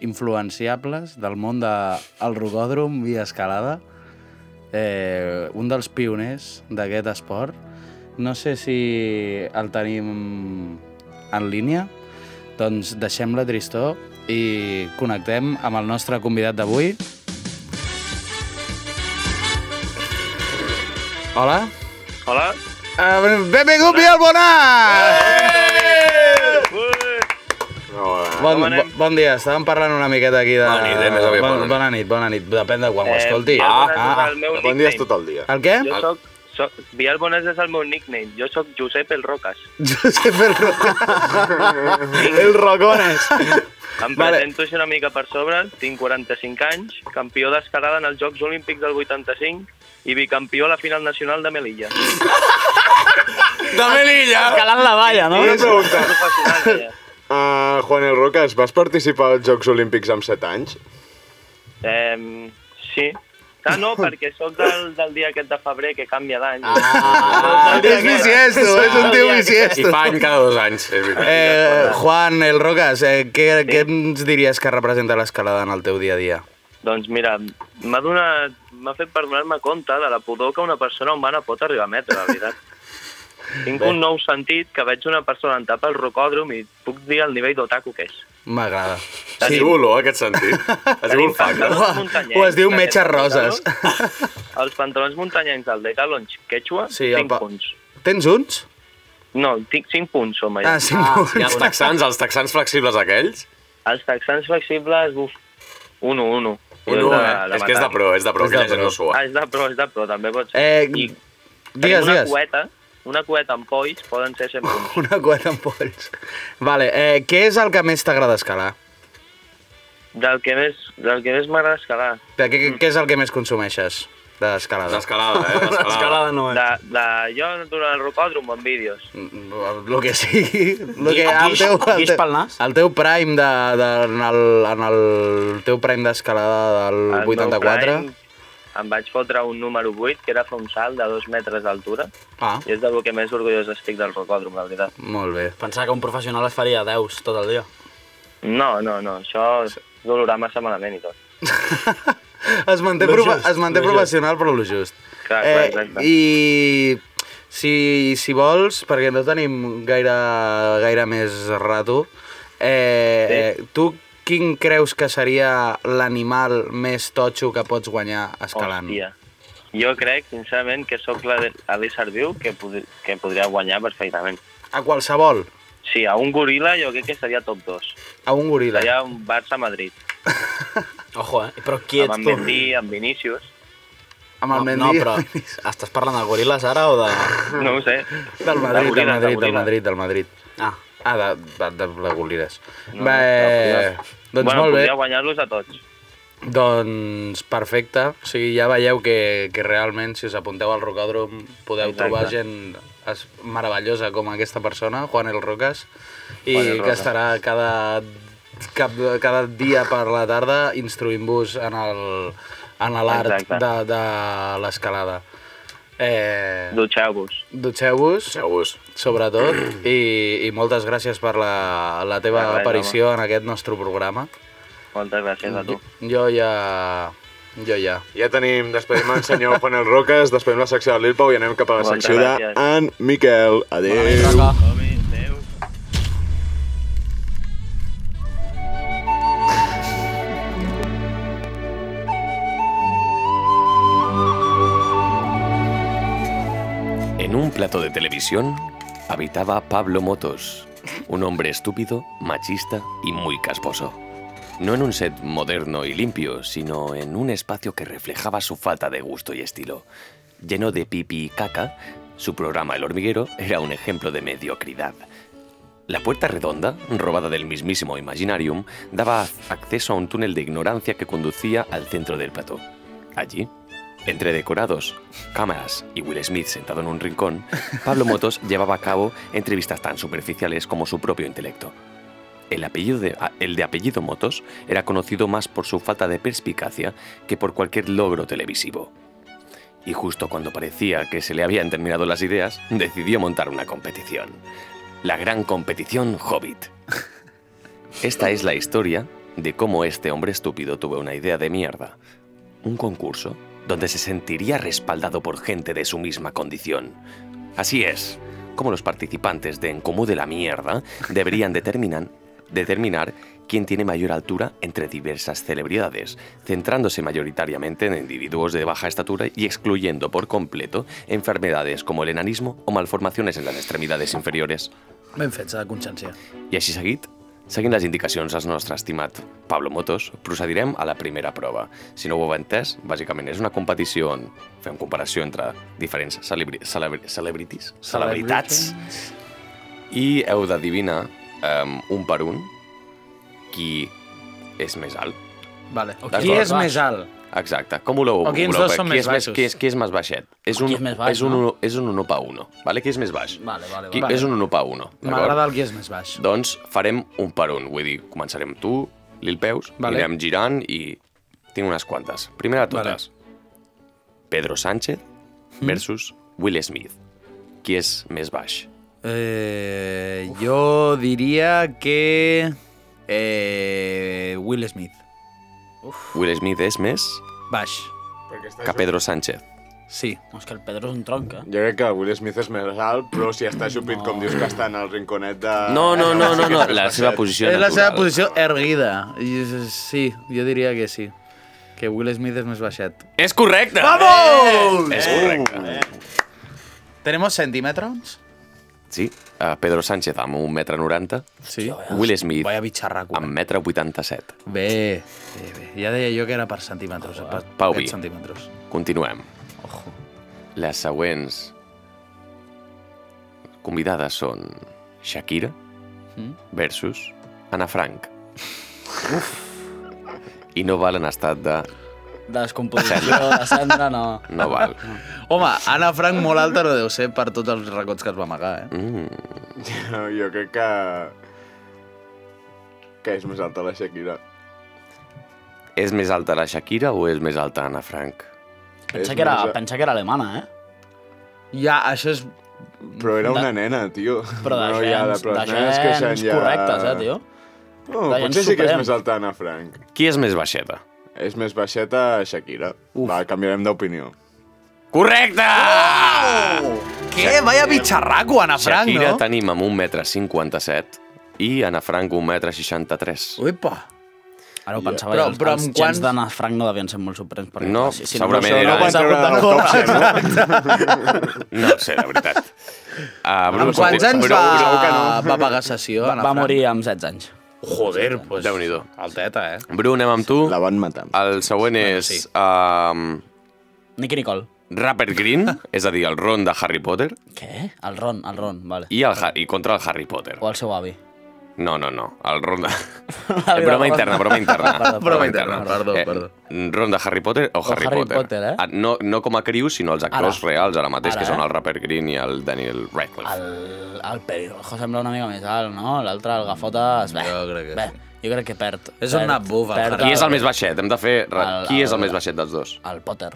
[SPEAKER 7] influenciables del món del de, Rocòdrom i escalada eh, un dels pioners d'aquest esport no sé si el tenim en línia, doncs deixem la tristor i connectem amb el nostre convidat d'avui. Hola.
[SPEAKER 9] Hola.
[SPEAKER 7] Uh, benvingut, Biel Bonat!
[SPEAKER 6] Eh!
[SPEAKER 7] Bon,
[SPEAKER 9] Com anem?
[SPEAKER 7] bo- bon dia, estàvem parlant una miqueta aquí de...
[SPEAKER 6] Bona nit, eh, més aviat,
[SPEAKER 7] Bon-
[SPEAKER 6] bona nit. ah,
[SPEAKER 7] bona nit, bona nit, depèn de quan ho
[SPEAKER 9] Eh,
[SPEAKER 7] escolti. Ah,
[SPEAKER 9] Biel Bones és el meu
[SPEAKER 2] Bon dia és
[SPEAKER 9] nickname.
[SPEAKER 2] tot el dia.
[SPEAKER 7] El què?
[SPEAKER 9] Jo soc, soc... Biel Bones és el meu nickname. Jo soc Josep el Roques.
[SPEAKER 7] Josep el Rocones. El Rocones.
[SPEAKER 9] Em
[SPEAKER 7] Vale.
[SPEAKER 9] vale. presento així una mica per sobre. Tinc 45 anys, campió d'escalada en els Jocs Olímpics del 85 i bicampió a la final nacional de Melilla.
[SPEAKER 6] De Melilla!
[SPEAKER 8] Calant la valla, no?
[SPEAKER 2] Una pregunta.
[SPEAKER 9] Professional, ja.
[SPEAKER 2] Uh, Juan El Rocas, vas participar als Jocs Olímpics amb 7 anys?
[SPEAKER 9] Eh, sí. Ah, no, perquè sóc del, del dia aquest de febrer que canvia d'any.
[SPEAKER 7] Ah, és viciesto, és un tio
[SPEAKER 6] I
[SPEAKER 7] viciesto.
[SPEAKER 6] fa any cada dos anys, és veritat.
[SPEAKER 7] Eh, Juan, el Rocas, eh, què, què ens diries que representa l'escalada en el teu dia a dia?
[SPEAKER 9] Doncs mira, m'ha donat... M'ha fet perdonar-me compte de la pudor que una persona humana pot arribar a emetre, la veritat. Tinc un nou sentit que veig una persona en tapa el rocòdrom i puc dir el nivell d'otaku que és.
[SPEAKER 7] M'agrada.
[SPEAKER 6] Ha sigut olor, aquest sentit. Ha sigut un fact.
[SPEAKER 9] pantalons
[SPEAKER 7] Ho-
[SPEAKER 9] muntanyencs
[SPEAKER 7] ho es diu
[SPEAKER 9] d'aquests
[SPEAKER 7] metges roses.
[SPEAKER 9] pantalons. Els pantalons muntanyencs del Decathlon Quechua,
[SPEAKER 7] Sí,
[SPEAKER 9] sí,
[SPEAKER 7] el
[SPEAKER 9] 5
[SPEAKER 7] pa-
[SPEAKER 9] punts.
[SPEAKER 7] Tens uns?
[SPEAKER 9] No, tinc 5 punts som allà.
[SPEAKER 7] Ah, sí, ah,
[SPEAKER 6] I els taxans, els taxans flexibles aquells?
[SPEAKER 9] Els texans flexibles, uf, 1, 1.
[SPEAKER 6] Ah. Un no, eh? És que és de pro, és de pro,
[SPEAKER 7] És
[SPEAKER 6] que
[SPEAKER 7] de
[SPEAKER 6] la gent
[SPEAKER 7] pro.
[SPEAKER 6] no sua.
[SPEAKER 9] Ah, és de pro, és de pro, també pot ser.
[SPEAKER 7] Eh,
[SPEAKER 9] I tenim
[SPEAKER 7] digues,
[SPEAKER 9] una
[SPEAKER 7] digues.
[SPEAKER 9] cueta, una cueta amb polls poden ser 100 punts.
[SPEAKER 7] Una cueta amb polls. Vale, eh, què és el que més t'agrada escalar?
[SPEAKER 9] Del que més, del que més m'agrada escalar.
[SPEAKER 7] De Què, què, què és el que més consumeixes? D'escalada.
[SPEAKER 6] D'escalada, eh? D'escalada.
[SPEAKER 7] D'escalada no és.
[SPEAKER 9] De, de, jo durant el rocòdrom en vídeos.
[SPEAKER 7] El que sigui. Lo que, el,
[SPEAKER 9] Guix-
[SPEAKER 7] teu, el,
[SPEAKER 9] guix
[SPEAKER 7] teu,
[SPEAKER 9] pel nas?
[SPEAKER 7] el teu prime de, de, en, el, en el teu prime d'escalada del
[SPEAKER 9] El meu
[SPEAKER 7] 84.
[SPEAKER 9] prime, Em vaig fotre un número 8, que era fer un salt de dos metres d'altura.
[SPEAKER 7] Ah.
[SPEAKER 9] I és del que més orgullós estic del rocòdrom, la veritat.
[SPEAKER 7] Molt bé.
[SPEAKER 8] Pensava que un professional es faria 10 tot el dia.
[SPEAKER 9] No, no, no, això és dolorar massa malament i tot.
[SPEAKER 7] Es manté,
[SPEAKER 9] Lo
[SPEAKER 7] prova,
[SPEAKER 9] just,
[SPEAKER 7] es manté
[SPEAKER 9] lo just.
[SPEAKER 7] professional, però lo just. Eh,
[SPEAKER 9] Clar, clar, exacte.
[SPEAKER 7] I si, si vols, perquè no tenim gaire, gaire més rato, eh, eh, tu quin creus que seria l'animal més totxo que pots guanyar escalant?
[SPEAKER 9] Hòstia. Jo crec, sincerament, que sóc la- l'ésser viu que, pod que podria guanyar perfectament.
[SPEAKER 7] A qualsevol,
[SPEAKER 9] Sí, a un goril·la jo crec que seria top 2.
[SPEAKER 7] a un goril·la.
[SPEAKER 9] Seria un Barça-Madrid.
[SPEAKER 8] Ojo, eh? Però qui ets
[SPEAKER 9] amb en
[SPEAKER 8] tu?
[SPEAKER 9] Mendy, amb Vinícius.
[SPEAKER 7] Amb el
[SPEAKER 8] No,
[SPEAKER 7] Mendy.
[SPEAKER 8] però estàs parlant de goril·les ara o de...
[SPEAKER 9] No ho sé.
[SPEAKER 7] Del Madrid, del
[SPEAKER 8] goril·les,
[SPEAKER 7] Madrid, del
[SPEAKER 8] goril·les.
[SPEAKER 7] Madrid, del Madrid.
[SPEAKER 8] Ah.
[SPEAKER 7] Ah, de, de, de, de Golires.
[SPEAKER 9] No,
[SPEAKER 7] Bé, doncs
[SPEAKER 9] bueno,
[SPEAKER 7] molt bé.
[SPEAKER 9] podria guanyar-los a tots.
[SPEAKER 7] Doncs perfecte, o sigui, ja veieu que, que realment si us apunteu al Rocòdrom podeu
[SPEAKER 9] Exacte.
[SPEAKER 7] trobar gent es- meravellosa com aquesta persona, Juan El Rocas, i
[SPEAKER 9] Juan El
[SPEAKER 7] que
[SPEAKER 9] Rocas.
[SPEAKER 7] estarà cada, cap, cada dia per la tarda instruint-vos en el- en l'art
[SPEAKER 9] Exacte.
[SPEAKER 7] de, de l'escalada. Eh,
[SPEAKER 9] Dutxeu-vos.
[SPEAKER 7] Dutxeu-vos. Dutxeu-vos. Sobretot. I, I moltes gràcies per la, la teva
[SPEAKER 9] De res,
[SPEAKER 7] aparició en aquest nostre programa.
[SPEAKER 9] Moltes gràcies a tu.
[SPEAKER 7] Jo ja... Jo ja.
[SPEAKER 2] Ja tenim, despedim el senyor Juan el Roques, despedim la secció de Lil Pau i anem cap a la
[SPEAKER 7] Moltes
[SPEAKER 2] secció de
[SPEAKER 7] gràcies.
[SPEAKER 2] en Miquel. Adéu.
[SPEAKER 6] En un plato de televisión habitaba Pablo Motos, un hombre estúpido, machista y muy casposo. No en un set moderno y limpio, sino en un espacio que reflejaba su falta de gusto y estilo. Lleno de pipi y caca, su programa El hormiguero era un ejemplo de mediocridad. La puerta redonda, robada del mismísimo Imaginarium, daba acceso a un túnel de ignorancia que conducía al centro del plató. Allí, entre decorados, cámaras y Will Smith sentado en un rincón, Pablo Motos llevaba a cabo entrevistas tan superficiales como su propio intelecto. El, apellido de, a- el de apellido Motos era conocido más por su falta de perspicacia que por cualquier logro televisivo. Y justo cuando parecía que se le habían terminado las ideas, decidió montar una competición. La gran competición Hobbit. Esta es la historia de cómo este hombre estúpido tuvo una idea de mierda. Un concurso donde se sentiría respaldado por gente de su misma condición. Así es, como los participantes de Encomú de la Mierda deberían determinar, determinar quién tiene mayor altura entre diversas celebridades, centrándose mayoritariamente en individuos de baja estatura y excluyendo por completo enfermedades como el enanismo o malformaciones en las extremidades inferiores.
[SPEAKER 10] Ben fet, s'ha de consciència.
[SPEAKER 6] I així seguit, seguint les indicacions del nostre estimat Pablo Motos, procedirem a la primera prova. Si no ho heu entès, bàsicament és una competició on fem comparació entre diferents celebri celebri celebrities, celebritats, i heu d'adivinar um, un per un qui és més alt.
[SPEAKER 10] Vale.
[SPEAKER 6] D'acord?
[SPEAKER 10] Qui és més alt?
[SPEAKER 6] Exacte. Com voleu?
[SPEAKER 10] O quins
[SPEAKER 6] voleu
[SPEAKER 10] dos
[SPEAKER 6] fer?
[SPEAKER 10] són
[SPEAKER 6] qui
[SPEAKER 10] més
[SPEAKER 6] és més,
[SPEAKER 10] baixos?
[SPEAKER 6] qui, és, qui és més baixet? És
[SPEAKER 10] Qui
[SPEAKER 6] un,
[SPEAKER 10] és més baix,
[SPEAKER 6] és un,
[SPEAKER 10] no?
[SPEAKER 6] uno- és un 1 pa 1. Vale? Qui és més baix?
[SPEAKER 10] Vale, vale,
[SPEAKER 6] Qui,
[SPEAKER 10] vale.
[SPEAKER 6] És un 1 pa 1.
[SPEAKER 10] M'agrada el qui és més baix.
[SPEAKER 6] Doncs farem un per un, vull dir, començarem tu, Lil Peus,
[SPEAKER 10] Vale.
[SPEAKER 6] vale. anirem girant i tinc unes quantes. Primera de totes, Pedro Sánchez
[SPEAKER 10] Hmm?
[SPEAKER 6] versus Will Smith. Qui és més baix?
[SPEAKER 10] Eh, jo diria que... Eh, Will Smith.
[SPEAKER 6] Will Smith és més
[SPEAKER 10] Baix.
[SPEAKER 6] que Pedro Sánchez.
[SPEAKER 10] Sí.
[SPEAKER 8] És que el Pedro és un tronc, eh?
[SPEAKER 2] Jo crec que Will Smith és més alt, però si està xupit, com dius que està en el rinconet de...
[SPEAKER 6] No, no, no, no, no, la seva posició
[SPEAKER 10] És la
[SPEAKER 6] natural.
[SPEAKER 10] seva posició erguida. I, és- sí, jo diria que sí. Que Will Smith és més baixet.
[SPEAKER 6] És correcte!
[SPEAKER 10] Vamos!
[SPEAKER 6] És correcte.
[SPEAKER 10] Tenemos centímetres?
[SPEAKER 6] Sí, eh, Pedro Sánchez amb 1,90 m.
[SPEAKER 10] Sí.
[SPEAKER 6] Will Smith
[SPEAKER 10] Ah, Vaya bitxarraco.
[SPEAKER 6] amb 1,87 m.
[SPEAKER 10] Bé, bé, bé. Ja deia jo que era per centímetres.
[SPEAKER 7] eh,
[SPEAKER 10] Per
[SPEAKER 6] Pau
[SPEAKER 10] aquests
[SPEAKER 6] Vi.
[SPEAKER 10] centímetres.
[SPEAKER 6] Continuem. Les següents convidades són Shakira
[SPEAKER 7] Mm.
[SPEAKER 6] versus Anna Frank. Uf. I no valen estat de
[SPEAKER 8] descomposició, de cendra, no.
[SPEAKER 6] No val.
[SPEAKER 7] Home, Anna Frank molt alta no deu ser per tots els records que es va amagar, eh?
[SPEAKER 6] Mm.
[SPEAKER 2] Jo, jo crec que... que és més alta la Shakira.
[SPEAKER 6] És més alta la Shakira o és més alta Anna Frank?
[SPEAKER 8] Pensa que, era, pensa que era alemana, eh?
[SPEAKER 7] Ja, això és...
[SPEAKER 2] Però era una
[SPEAKER 8] De-
[SPEAKER 2] nena, tio.
[SPEAKER 8] Però de
[SPEAKER 2] no,
[SPEAKER 8] gens,
[SPEAKER 2] però
[SPEAKER 8] de
[SPEAKER 2] les nenes que
[SPEAKER 8] gens
[SPEAKER 2] s'han ja-
[SPEAKER 8] correctes, eh, tio?
[SPEAKER 2] No,
[SPEAKER 8] De
[SPEAKER 2] Oh, potser
[SPEAKER 8] gens
[SPEAKER 2] sí que és
[SPEAKER 8] suprem.
[SPEAKER 2] més alta Anna Frank.
[SPEAKER 6] Qui és més baixeta?
[SPEAKER 2] És més baixeta Shakira. Uf. Va, canviarem d'opinió.
[SPEAKER 6] Correcte!
[SPEAKER 7] Oh! Què? Vaya bitxarraco, Anna Frank,
[SPEAKER 6] Shakira
[SPEAKER 7] no?
[SPEAKER 6] tenim amb 1,57 m i Anna Frank 1,63 m.
[SPEAKER 7] Uipa!
[SPEAKER 8] Ara ho
[SPEAKER 6] Ja.
[SPEAKER 8] pensava
[SPEAKER 7] Però-
[SPEAKER 8] jo, els,
[SPEAKER 7] però
[SPEAKER 8] els
[SPEAKER 7] amb
[SPEAKER 8] gens
[SPEAKER 7] quants-
[SPEAKER 8] d'Anna Frank no devien ser molt sorprens. Perquè,
[SPEAKER 6] No,
[SPEAKER 8] clar,
[SPEAKER 6] segurament
[SPEAKER 8] això
[SPEAKER 6] era-
[SPEAKER 8] hagués hagut de córrer.
[SPEAKER 6] No ho sé, la veritat. Uh,
[SPEAKER 7] Amb quants anys va, va pagar sessió, Anna
[SPEAKER 8] Va
[SPEAKER 7] Frank?
[SPEAKER 8] morir amb 16 anys.
[SPEAKER 7] Joder, pues...
[SPEAKER 6] déu nhi
[SPEAKER 7] Alteta, eh?
[SPEAKER 6] Bru, anem amb tu.
[SPEAKER 2] La van matar.
[SPEAKER 6] El següent és...
[SPEAKER 8] sí.
[SPEAKER 6] Um,
[SPEAKER 8] Nicky Nicole.
[SPEAKER 6] Rapper Green, és a dir, el Ron de Harry Potter,
[SPEAKER 8] Què? El Ron, el Ron, vale.
[SPEAKER 6] i, el ha i contra el Harry Potter.
[SPEAKER 8] O el seu avi.
[SPEAKER 6] No, no, no, el Ron de... Eh, broma interna, broma interna.
[SPEAKER 8] Perdó,
[SPEAKER 7] Broma interna, perdó,
[SPEAKER 6] Eh,
[SPEAKER 7] perdó.
[SPEAKER 6] Ron de Harry Potter o, Harry,
[SPEAKER 8] Harry
[SPEAKER 6] Potter.
[SPEAKER 8] Potter, eh?
[SPEAKER 6] Ah, No, no com a criu, sinó els actors
[SPEAKER 8] Ara.
[SPEAKER 6] reals ara mateix,
[SPEAKER 8] Ara,
[SPEAKER 6] que són
[SPEAKER 8] eh?
[SPEAKER 6] el Rapper Green i el Daniel Radcliffe.
[SPEAKER 8] El, el Pelirrojo sembla una mica més alt, no? L'altre, el Gafotes... Bé,
[SPEAKER 7] Jo crec que
[SPEAKER 8] bé,
[SPEAKER 7] sí.
[SPEAKER 8] jo crec que perd.
[SPEAKER 7] És un
[SPEAKER 8] perd-
[SPEAKER 7] nap buf, el
[SPEAKER 8] perd
[SPEAKER 7] Harry.
[SPEAKER 6] Qui és el més baixet? Hem de fer...
[SPEAKER 8] El-
[SPEAKER 6] Qui és el
[SPEAKER 8] el-
[SPEAKER 6] més baixet dels dos?
[SPEAKER 8] El Potter.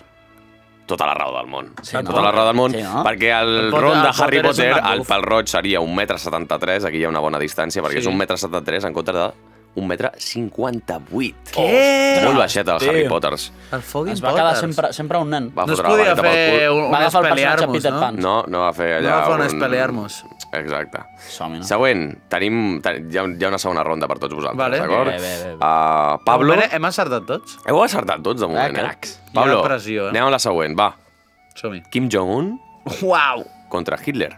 [SPEAKER 6] Tota la raó del món.
[SPEAKER 8] Sí, no?
[SPEAKER 6] Tota la raó del món,
[SPEAKER 8] Sí, no?
[SPEAKER 6] perquè el,
[SPEAKER 7] El Potter-
[SPEAKER 6] ron de
[SPEAKER 7] el Potter
[SPEAKER 6] Harry
[SPEAKER 7] és un
[SPEAKER 6] Potter,
[SPEAKER 7] nat
[SPEAKER 6] el
[SPEAKER 7] buf.
[SPEAKER 6] pal roig seria 1,73 m, aquí hi ha una bona distància, perquè
[SPEAKER 7] Sí.
[SPEAKER 6] és 1,73 m en contra de 1,58 m.
[SPEAKER 7] Què?
[SPEAKER 6] Molt baixet el
[SPEAKER 8] Tio.
[SPEAKER 6] Harry Potters.
[SPEAKER 7] El Foggy
[SPEAKER 8] Es va quedar sempre, sempre un nen.
[SPEAKER 6] Va
[SPEAKER 7] No es
[SPEAKER 6] fotre la
[SPEAKER 7] podia
[SPEAKER 6] vareta pel
[SPEAKER 7] fer
[SPEAKER 6] cul.
[SPEAKER 7] un,
[SPEAKER 8] Va
[SPEAKER 7] un
[SPEAKER 8] agafar el personatge
[SPEAKER 7] espelearmos,
[SPEAKER 8] Peter
[SPEAKER 7] no?
[SPEAKER 8] Pan.
[SPEAKER 6] No, no va fer allà...
[SPEAKER 7] No va fer un espelearmos.
[SPEAKER 6] Exacte.
[SPEAKER 8] Som-hi, no?
[SPEAKER 6] Següent, tenim, ten hi, ha, hi ha una segona ronda per tots vosaltres,
[SPEAKER 7] Vale.
[SPEAKER 6] d'acord?
[SPEAKER 8] Bé, bé, bé, bé.
[SPEAKER 6] Uh, Pablo,
[SPEAKER 7] Bueno, Hem encertat tots?
[SPEAKER 6] heu acertat tots de moment, eh?
[SPEAKER 8] cracs.
[SPEAKER 6] Pablo,
[SPEAKER 7] Ah, Hi ha pressió, eh?
[SPEAKER 6] anem a la següent, va.
[SPEAKER 7] Som-hi.
[SPEAKER 6] Kim Jong-un
[SPEAKER 7] Uau!
[SPEAKER 6] contra Hitler.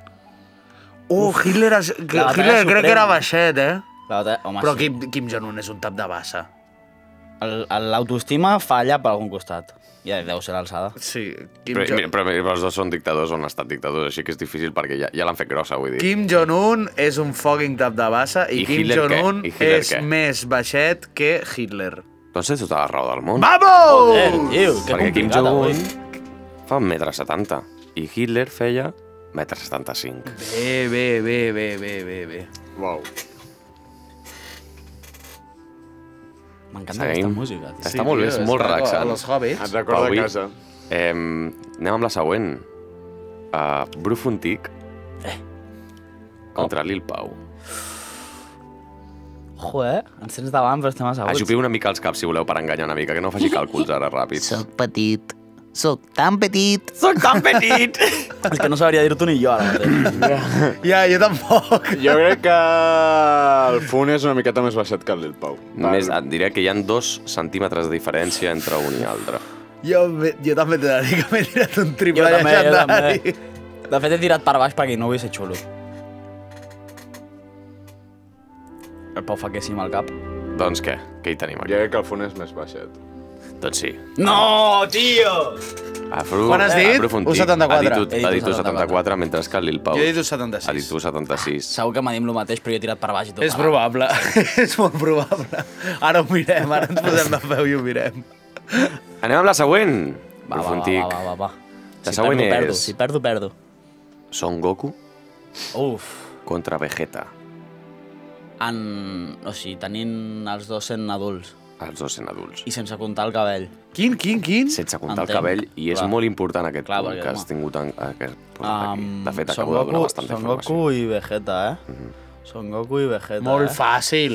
[SPEAKER 7] Uh, Hitler, es...
[SPEAKER 8] batalla
[SPEAKER 7] Hitler crec que
[SPEAKER 8] suprema.
[SPEAKER 7] era baixet, eh?
[SPEAKER 8] La veritat, Home,
[SPEAKER 7] Però
[SPEAKER 8] sí.
[SPEAKER 7] Kim, Kim Jong-un és un tap de bassa.
[SPEAKER 8] El- el- L'autoestima falla per algun costat. Ja deu ser l'alçada.
[SPEAKER 7] Sí, Kim
[SPEAKER 6] Però, mira,
[SPEAKER 7] Jong-un...
[SPEAKER 6] però, però els dos són dictadors o han estat dictadors, així que és difícil perquè ja, ja l'han fet grossa, vull dir.
[SPEAKER 7] Kim Jong-un és un fucking tap de bassa i,
[SPEAKER 6] I
[SPEAKER 7] Kim
[SPEAKER 6] Hitler què?
[SPEAKER 7] Jong-un
[SPEAKER 6] I Hitler
[SPEAKER 7] és
[SPEAKER 6] què?
[SPEAKER 7] més baixet que Hitler.
[SPEAKER 6] Doncs té tota la raó del món.
[SPEAKER 7] Vamos!
[SPEAKER 8] Joder, tio, que
[SPEAKER 6] perquè Kim
[SPEAKER 8] complicat, avui.
[SPEAKER 6] Jong-un fa un metre setanta i Hitler feia metre setanta cinc.
[SPEAKER 7] Bé, bé, bé, bé, bé, bé, bé.
[SPEAKER 2] Uau.
[SPEAKER 8] M'encanta aquesta
[SPEAKER 6] Seguim.
[SPEAKER 8] música, tio.
[SPEAKER 6] Està molt bé, és molt relaxant.
[SPEAKER 7] Els hobbits.
[SPEAKER 2] Et recorda
[SPEAKER 6] Avui-
[SPEAKER 2] a casa.
[SPEAKER 6] Eh, anem amb la següent. Uh, Bru Fontic eh. contra Lil Pau.
[SPEAKER 8] Ojo, eh? Ens tens davant, però estem asseguts.
[SPEAKER 6] Ajupiu Ah, una mica els caps, si voleu, per enganyar una mica, que no faci càlculs ara ràpids.
[SPEAKER 11] petit. Soc tan petit.
[SPEAKER 6] Soc tan petit!
[SPEAKER 8] És que no sabria dir-t'ho ni jo ara mateix.
[SPEAKER 7] Ja, jo tampoc.
[SPEAKER 2] Jo crec que el Fun és una miqueta més baixet que el Lil Pau.
[SPEAKER 6] Més, et diré que hi han dos centímetres de diferència entre un i altre.
[SPEAKER 7] Jo, me- jo també t'he de dir que m'he tirat un triple
[SPEAKER 8] Jo també, jo
[SPEAKER 7] llegendari.
[SPEAKER 8] De fet, he tirat per baix perquè no vull ser xulo. El Pau fa que sí amb el cap.
[SPEAKER 6] Doncs què? Què hi tenim
[SPEAKER 2] Jo
[SPEAKER 6] aquí?
[SPEAKER 2] crec que el Fun és més baixet.
[SPEAKER 6] Doncs sí.
[SPEAKER 8] No, tio!
[SPEAKER 6] Afro,
[SPEAKER 7] Quan has dit?
[SPEAKER 6] Aprofundir.
[SPEAKER 7] 1,74.
[SPEAKER 6] Ha dit,
[SPEAKER 8] He dit
[SPEAKER 6] un- ha dit
[SPEAKER 8] 1,74,
[SPEAKER 6] 74, mentre que el Lil Pau...
[SPEAKER 7] Jo he dit 1,76.
[SPEAKER 6] Ha dit 1,76.
[SPEAKER 8] Segur que m'ha dit el mateix, però jo he tirat per baix i tot.
[SPEAKER 7] És probable, és molt probable. Ara ho mirem, ara ens posem de peu i ho mirem.
[SPEAKER 6] Anem amb la següent.
[SPEAKER 8] Va, va, va,
[SPEAKER 6] Profundic.
[SPEAKER 8] va, va, va.
[SPEAKER 6] La següent
[SPEAKER 8] perdo, perdo.
[SPEAKER 6] és-
[SPEAKER 8] Si perdo, perdo.
[SPEAKER 6] Son Goku
[SPEAKER 8] Uf.
[SPEAKER 6] contra Vegeta.
[SPEAKER 8] En... O sigui, tenint els dos sent adults
[SPEAKER 6] Els dos sent adults.
[SPEAKER 8] i sense comptar el cabell.
[SPEAKER 7] Quin, quin, quin?
[SPEAKER 6] Sense comptar el
[SPEAKER 8] Entenc,
[SPEAKER 6] cabell, i és
[SPEAKER 8] clar.
[SPEAKER 6] molt important aquest
[SPEAKER 8] Clar,
[SPEAKER 6] punt
[SPEAKER 8] perquè,
[SPEAKER 6] que has
[SPEAKER 8] home.
[SPEAKER 6] tingut en, aquest punt aquí. De fet,
[SPEAKER 8] Son
[SPEAKER 6] acabo de donar
[SPEAKER 8] Goku-
[SPEAKER 6] bastanta
[SPEAKER 8] Son
[SPEAKER 6] informació. Mhm.
[SPEAKER 8] Goku i Vegeta, eh? Son Goku i Vegeta,
[SPEAKER 7] Molt
[SPEAKER 8] eh?
[SPEAKER 7] fàcil.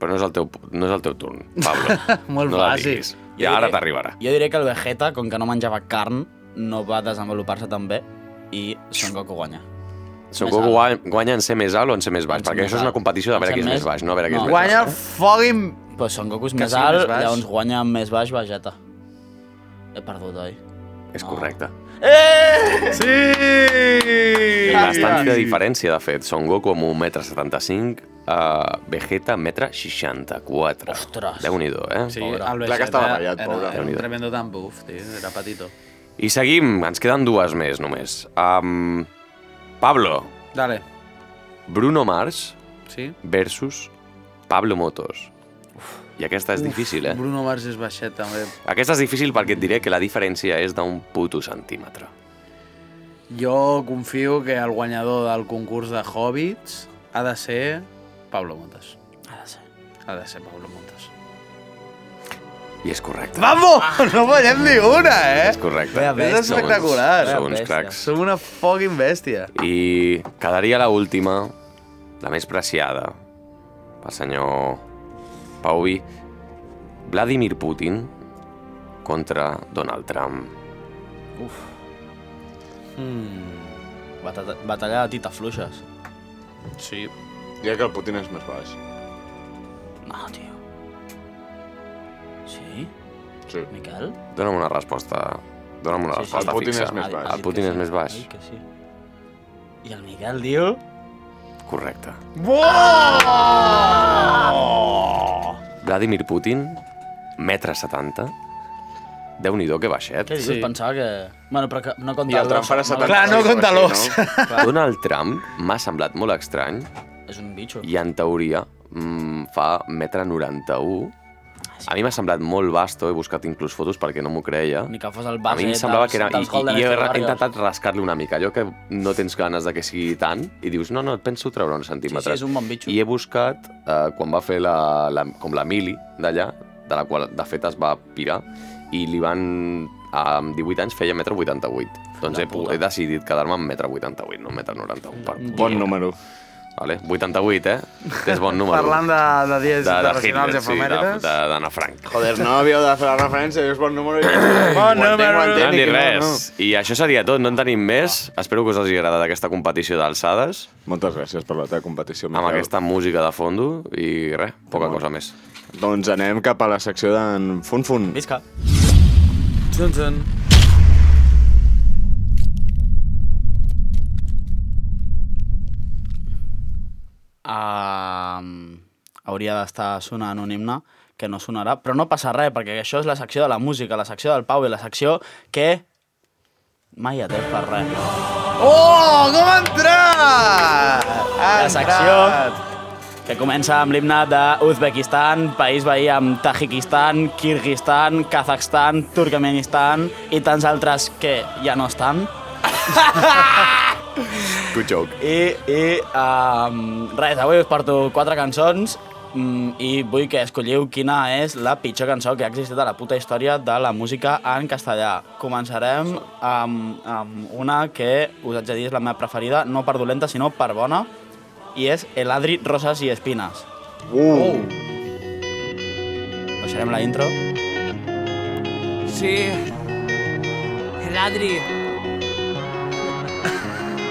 [SPEAKER 6] Però no és el teu, no és el teu turn, Pablo.
[SPEAKER 7] Molt
[SPEAKER 6] no la
[SPEAKER 7] fàcil.
[SPEAKER 6] diguis.
[SPEAKER 8] Jo
[SPEAKER 6] I ara
[SPEAKER 8] diré-
[SPEAKER 6] t'arribarà.
[SPEAKER 8] Jo diré que el Vegeta, com que no menjava carn, no va desenvolupar-se tan bé i Son Goku guanya.
[SPEAKER 6] Son
[SPEAKER 8] Més
[SPEAKER 6] Goku
[SPEAKER 8] alt.
[SPEAKER 6] guany- guanya en ser més alt o en ser més baix?
[SPEAKER 8] En ser
[SPEAKER 6] Perquè
[SPEAKER 8] més
[SPEAKER 6] això és una
[SPEAKER 8] alt.
[SPEAKER 6] competició de
[SPEAKER 8] En
[SPEAKER 6] veure
[SPEAKER 8] ser
[SPEAKER 6] qui és més
[SPEAKER 8] més-
[SPEAKER 6] baix, no a veure qui és
[SPEAKER 8] No.
[SPEAKER 6] més
[SPEAKER 7] Guanya el
[SPEAKER 6] alt.
[SPEAKER 7] fucking...
[SPEAKER 8] Però Son Goku és
[SPEAKER 7] Que
[SPEAKER 8] més
[SPEAKER 7] sigui més
[SPEAKER 8] alt,
[SPEAKER 7] baix.
[SPEAKER 8] llavors guanya amb més baix Vegeta. He perdut, oi?
[SPEAKER 6] És correcte. Eh!
[SPEAKER 7] Sí!
[SPEAKER 6] Bastant de diferència, de fet. Son Goku amb 1,75 m, uh, Vegeta 1,64 m.
[SPEAKER 8] Ostres.
[SPEAKER 6] Déu-n'hi-do, eh?
[SPEAKER 7] Sí,
[SPEAKER 8] Pobre.
[SPEAKER 7] el
[SPEAKER 2] Clar que
[SPEAKER 7] Vegeta
[SPEAKER 2] estava ratllat,
[SPEAKER 7] era-
[SPEAKER 2] pobre.
[SPEAKER 7] Era un
[SPEAKER 6] Déu-n'hi-do.
[SPEAKER 7] tremendo tambuf, tio, era petito.
[SPEAKER 6] I seguim, ens queden dues més només. Um, Pablo,
[SPEAKER 7] Dale.
[SPEAKER 6] Bruno Mars
[SPEAKER 7] Sí?
[SPEAKER 6] versus Pablo Motos. I aquesta és
[SPEAKER 7] Uf,
[SPEAKER 6] difícil, eh?
[SPEAKER 7] Bruno Mars és baixet, també.
[SPEAKER 6] Aquesta és difícil perquè et diré que la diferència és d'un puto centímetre.
[SPEAKER 7] Jo confio que el guanyador del concurs de Hobbits ha de ser Pablo Montes.
[SPEAKER 8] Ha de ser.
[SPEAKER 7] Ha de ser Pablo Montes.
[SPEAKER 6] I és correcte.
[SPEAKER 7] Vamos! No fallem ni una, eh?
[SPEAKER 6] És correcte.
[SPEAKER 7] És espectacular.
[SPEAKER 6] Som uns, som uns cracs.
[SPEAKER 7] Som una fucking bèstia.
[SPEAKER 6] I quedaria la última, la més preciada, el senyor Pauvi, Vladimir Putin contra Donald Trump.
[SPEAKER 8] Uf. Mm. Batata, batalla de tites fluixes. Sí.
[SPEAKER 2] Ja que el Putin és més baix.
[SPEAKER 8] No, tio. Sí?
[SPEAKER 2] Sí.
[SPEAKER 8] Miquel?
[SPEAKER 6] Dona'm una resposta. Dona'm una
[SPEAKER 8] Sí, sí.
[SPEAKER 6] resposta
[SPEAKER 8] El Putin
[SPEAKER 6] fixa.
[SPEAKER 8] és més baix.
[SPEAKER 6] El Putin és més baix.
[SPEAKER 8] Ai, que sí. I el Miquel diu...
[SPEAKER 6] Correcte.
[SPEAKER 8] Oh!
[SPEAKER 6] Vladimir Putin, metre 70. Déu-n'hi-do, que baixet.
[SPEAKER 8] Què dius? Sí. Pensava que... Bueno, però que no compta
[SPEAKER 6] I el Trump farà 70
[SPEAKER 8] Clar, no compta l'os.
[SPEAKER 6] Donald Trump m'ha semblat molt estrany
[SPEAKER 8] És un bitxo.
[SPEAKER 6] i en teoria mm, fa metre 91. A mi m'ha semblat molt vasto, he buscat inclús fotos perquè no m'ho creia.
[SPEAKER 8] Ni que fos el
[SPEAKER 6] A
[SPEAKER 8] base
[SPEAKER 6] mi em semblava
[SPEAKER 8] dels,
[SPEAKER 6] que era... I,
[SPEAKER 8] dels Golden
[SPEAKER 6] i, i he,
[SPEAKER 8] State
[SPEAKER 6] he
[SPEAKER 8] Warriors.
[SPEAKER 6] intentat rascar-li una mica. Allò que no tens ganes de que sigui tant i dius, no, no, et penso treure uns centímetres.
[SPEAKER 8] Sí, sí, és un bon bitxo.
[SPEAKER 6] I he buscat, eh, quan va fer la, la, com la mili d'allà, de la qual de fet es va pirar, i li van... Amb 18 anys feia 1,88 m. Doncs he, pu- he decidit quedar-me amb 1,88 m, no 1,91 m. Per...
[SPEAKER 2] Bon número.
[SPEAKER 6] Vale, 88, eh? És bon número.
[SPEAKER 7] Parlant de, de dies
[SPEAKER 6] de
[SPEAKER 7] internacionals
[SPEAKER 6] Hitler, sí,
[SPEAKER 7] i efemèrides.
[SPEAKER 6] de- de- d'Anna Frank.
[SPEAKER 2] Joder, no havíeu de fer la referència, és bon número. i-
[SPEAKER 7] Bon
[SPEAKER 2] Ho entenc,
[SPEAKER 7] número.
[SPEAKER 2] ho entenc,
[SPEAKER 6] No hem dit
[SPEAKER 2] i que no,
[SPEAKER 6] res. I això seria tot, no en tenim més. Espero que us hagi agradat aquesta competició d'alçades.
[SPEAKER 2] Moltes gràcies per la teva competició,
[SPEAKER 6] Amb aquesta música de fondo i res, poca cosa més.
[SPEAKER 2] no. Doncs anem cap a la secció d'en Fun Fun.
[SPEAKER 8] Visca.
[SPEAKER 7] Zun, zun.
[SPEAKER 8] um, hauria d'estar sonant un himne que no sonarà, però no passa res, perquè això és la secció de la música, la secció del Pau i la secció que mai et per res.
[SPEAKER 7] Oh, com ha entrat!
[SPEAKER 8] La secció que comença amb l'himne d'Uzbekistan, país veí amb Tajikistan, Kirguistan, Kazakhstan, Turkmenistan i tants altres que ja no estan.
[SPEAKER 2] Good joke.
[SPEAKER 8] I, i E, um, res, avui us porto quatre cançons mm, i vull que escolliu quina és la pitjor cançó que ha existit a la puta història de la música en castellà. Començarem amb, amb una que us haig de dir és la meva preferida, no per dolenta sinó per bona, i és El Adri, Roses i Espines.
[SPEAKER 2] Uh.
[SPEAKER 8] Baixarem la intro.
[SPEAKER 12] Sí. El Adri.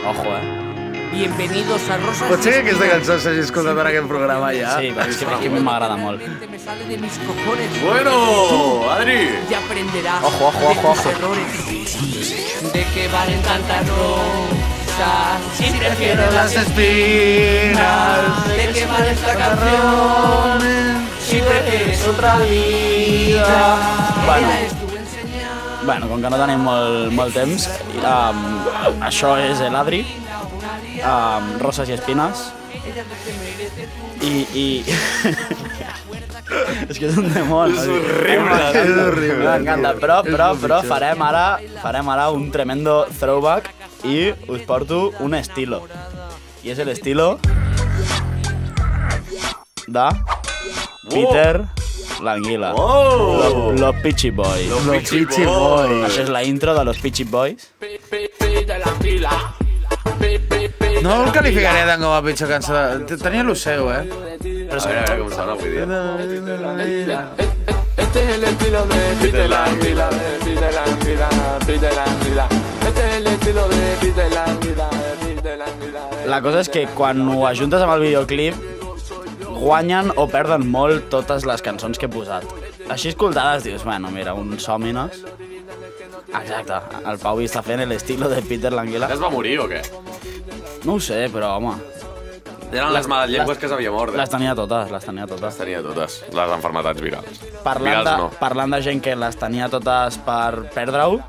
[SPEAKER 8] Ojo, eh?
[SPEAKER 12] Bienvenidos a Rosas.
[SPEAKER 7] Pot ser
[SPEAKER 12] y
[SPEAKER 7] Pues que aquesta
[SPEAKER 12] Espinas.
[SPEAKER 7] cançó s'hagi escoltat en aquest programa ja?
[SPEAKER 8] Sí, perquè és que a mi m'agrada molt.
[SPEAKER 12] Me sale de mis cojones.
[SPEAKER 7] Bueno,
[SPEAKER 12] Tú
[SPEAKER 7] Adri.
[SPEAKER 12] Ya aprenderás
[SPEAKER 8] Ojo, ojo,
[SPEAKER 12] de
[SPEAKER 8] ojo,
[SPEAKER 12] tus
[SPEAKER 8] ojo.
[SPEAKER 12] errores. De qué valen tantas rosas. Si prefiero
[SPEAKER 7] Prefiero
[SPEAKER 12] las
[SPEAKER 7] las
[SPEAKER 12] espinas.
[SPEAKER 7] espinas.
[SPEAKER 12] De qué vale esta canción. Si prefieres otra vida.
[SPEAKER 8] Bueno, bueno com que no tenim molt, molt temps, um, això és l'Adri, um, Roses i Espines, i... i... és que és un demoni. És horrible. És horrible. M'encanta, però, però, però farem ara, farem ara un tremendo throwback i us porto un estilo. I és l'estilo de Peter l'anguila.
[SPEAKER 12] Oh!
[SPEAKER 8] Los, los Pitchy Boys.
[SPEAKER 12] Los Los Pitchy Pitchy Boys. Boys.
[SPEAKER 8] Això és la intro de los Pitchy Boys.
[SPEAKER 12] de la pila. Pe, pe, pe de
[SPEAKER 7] No
[SPEAKER 12] la
[SPEAKER 7] el qualificaré
[SPEAKER 12] pila.
[SPEAKER 7] tant com a pitjor cançó. de- Tenia lo seu, eh?
[SPEAKER 6] Però a veure, a veure com sona avui dia.
[SPEAKER 12] Este es el estilo de Peter Languila, de Peter Languila, Peter Languila. Este es el estilo de Peter Languila, de Peter Languila.
[SPEAKER 8] La cosa és que quan ho ajuntes amb el videoclip, guanyen o perden molt totes les cançons que he posat. Així escoltades dius, bueno, mira, un sòmines. Exacte, el Pau hi està fent l'estilo de Peter Languila.
[SPEAKER 6] Es va morir o què?
[SPEAKER 8] No ho sé, però home,
[SPEAKER 6] Eren les males llengües que s'havia mort.
[SPEAKER 8] les tenia totes, les tenia totes.
[SPEAKER 6] Les tenia totes, les enfermetats virals.
[SPEAKER 8] Parlant de,
[SPEAKER 6] virals no.
[SPEAKER 8] parlant de gent que les tenia totes per perdre-ho,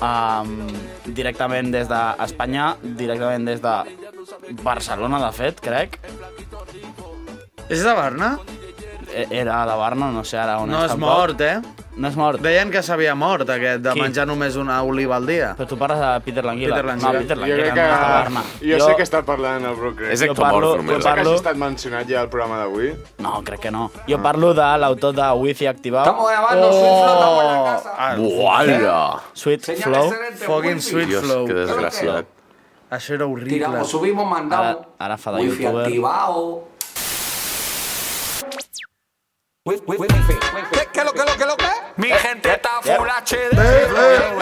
[SPEAKER 8] um, directament des d'Espanya, directament des de Barcelona, de fet, crec.
[SPEAKER 7] És de Barna?
[SPEAKER 8] e- era a la Barna, no sé ara on
[SPEAKER 7] No
[SPEAKER 8] és
[SPEAKER 7] és
[SPEAKER 8] tampoc.
[SPEAKER 7] mort, eh?
[SPEAKER 8] No és mort.
[SPEAKER 7] Deien que s'havia mort, aquest, de
[SPEAKER 8] Qui?
[SPEAKER 7] menjar només una oliva al dia.
[SPEAKER 8] Però tu parles de Peter Languila.
[SPEAKER 7] Peter Languila.
[SPEAKER 8] No, Peter
[SPEAKER 7] Jo
[SPEAKER 8] Languila,
[SPEAKER 7] crec
[SPEAKER 8] no és de Barna.
[SPEAKER 2] Jo, jo sé que està parlant el Brooke.
[SPEAKER 8] És ectomorf, Jo parlo- només. jo
[SPEAKER 2] Pensa que
[SPEAKER 8] parlo-
[SPEAKER 2] hagi estat mencionat ja al programa d'avui?
[SPEAKER 8] No, crec que no. Jo parlo de l'autor de Wi-Fi activat.
[SPEAKER 2] Estamos grabando,
[SPEAKER 7] Ah,
[SPEAKER 6] Buala!
[SPEAKER 8] Sweet Flow.
[SPEAKER 7] Oh. Fucking sweet
[SPEAKER 6] Dios,
[SPEAKER 7] flow.
[SPEAKER 6] que desgraciat.
[SPEAKER 7] Això era horrible.
[SPEAKER 8] Tiramos, subimos, mandamos. Ara- ara fa de Wifi youtuber. activado.
[SPEAKER 1] ¿Qué, qué lo que, lo que, lo que? Mi gente está full HD. ¿Qué lo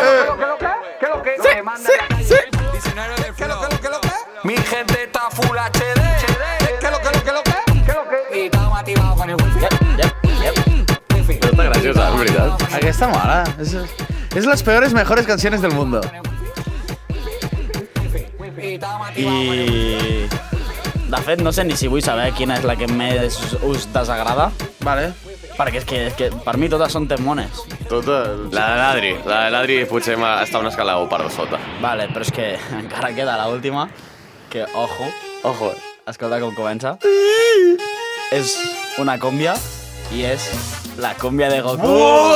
[SPEAKER 1] que, lo que? ¿Qué lo que? Lo que manda la calle. 19 del flow. ¿Qué lo que, lo que, lo que? Mi gente está full HD. ¿Qué lo que, lo que, lo que? ¿Qué lo que? Y estamos activados con el wifi.
[SPEAKER 6] Però està graciosa, és veritat.
[SPEAKER 7] Aquesta mola. És, és les peores mejores canciones del mundo.
[SPEAKER 8] I... De fet, no sé ni si vull saber quina és la que més us desagrada.
[SPEAKER 7] Vale.
[SPEAKER 8] Perquè és que, és que per mi totes són temones.
[SPEAKER 2] Totes...
[SPEAKER 6] La de l'Adri. La de l'Adri potser m'ha- està una escala 1 per sota.
[SPEAKER 8] Vale, però és que encara queda la última, que ojo.
[SPEAKER 6] Ojo.
[SPEAKER 8] Escolta com comença. És una còmbia i és la còmbia de Goku.
[SPEAKER 2] Oh!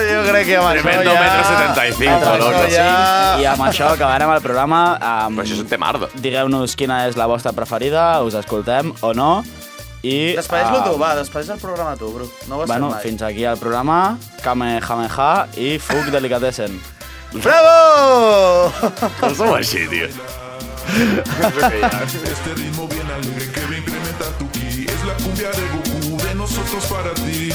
[SPEAKER 7] Jo crec que amb això
[SPEAKER 6] Tremendo
[SPEAKER 7] ja-
[SPEAKER 6] metro 75,
[SPEAKER 7] amb
[SPEAKER 6] valor.
[SPEAKER 7] això ja-
[SPEAKER 8] I amb això acabarem el programa. Amb... Però
[SPEAKER 6] això és un temardo.
[SPEAKER 8] Digueu-nos quina és la vostra preferida, us escoltem o no. I,
[SPEAKER 7] Despedeix-lo
[SPEAKER 8] ah,
[SPEAKER 7] tu, va, despedeix el programa tu, Bru. No ho has
[SPEAKER 8] Bueno,
[SPEAKER 7] fet mai.
[SPEAKER 8] fins aquí el programa. Kamehameha i Fuc Delicatessen.
[SPEAKER 7] Bravo!
[SPEAKER 6] Com som així, tio?
[SPEAKER 13] Este ritmo bien alegre que va a incrementar tu ki Es la cumbia de Goku, de nosotros para ti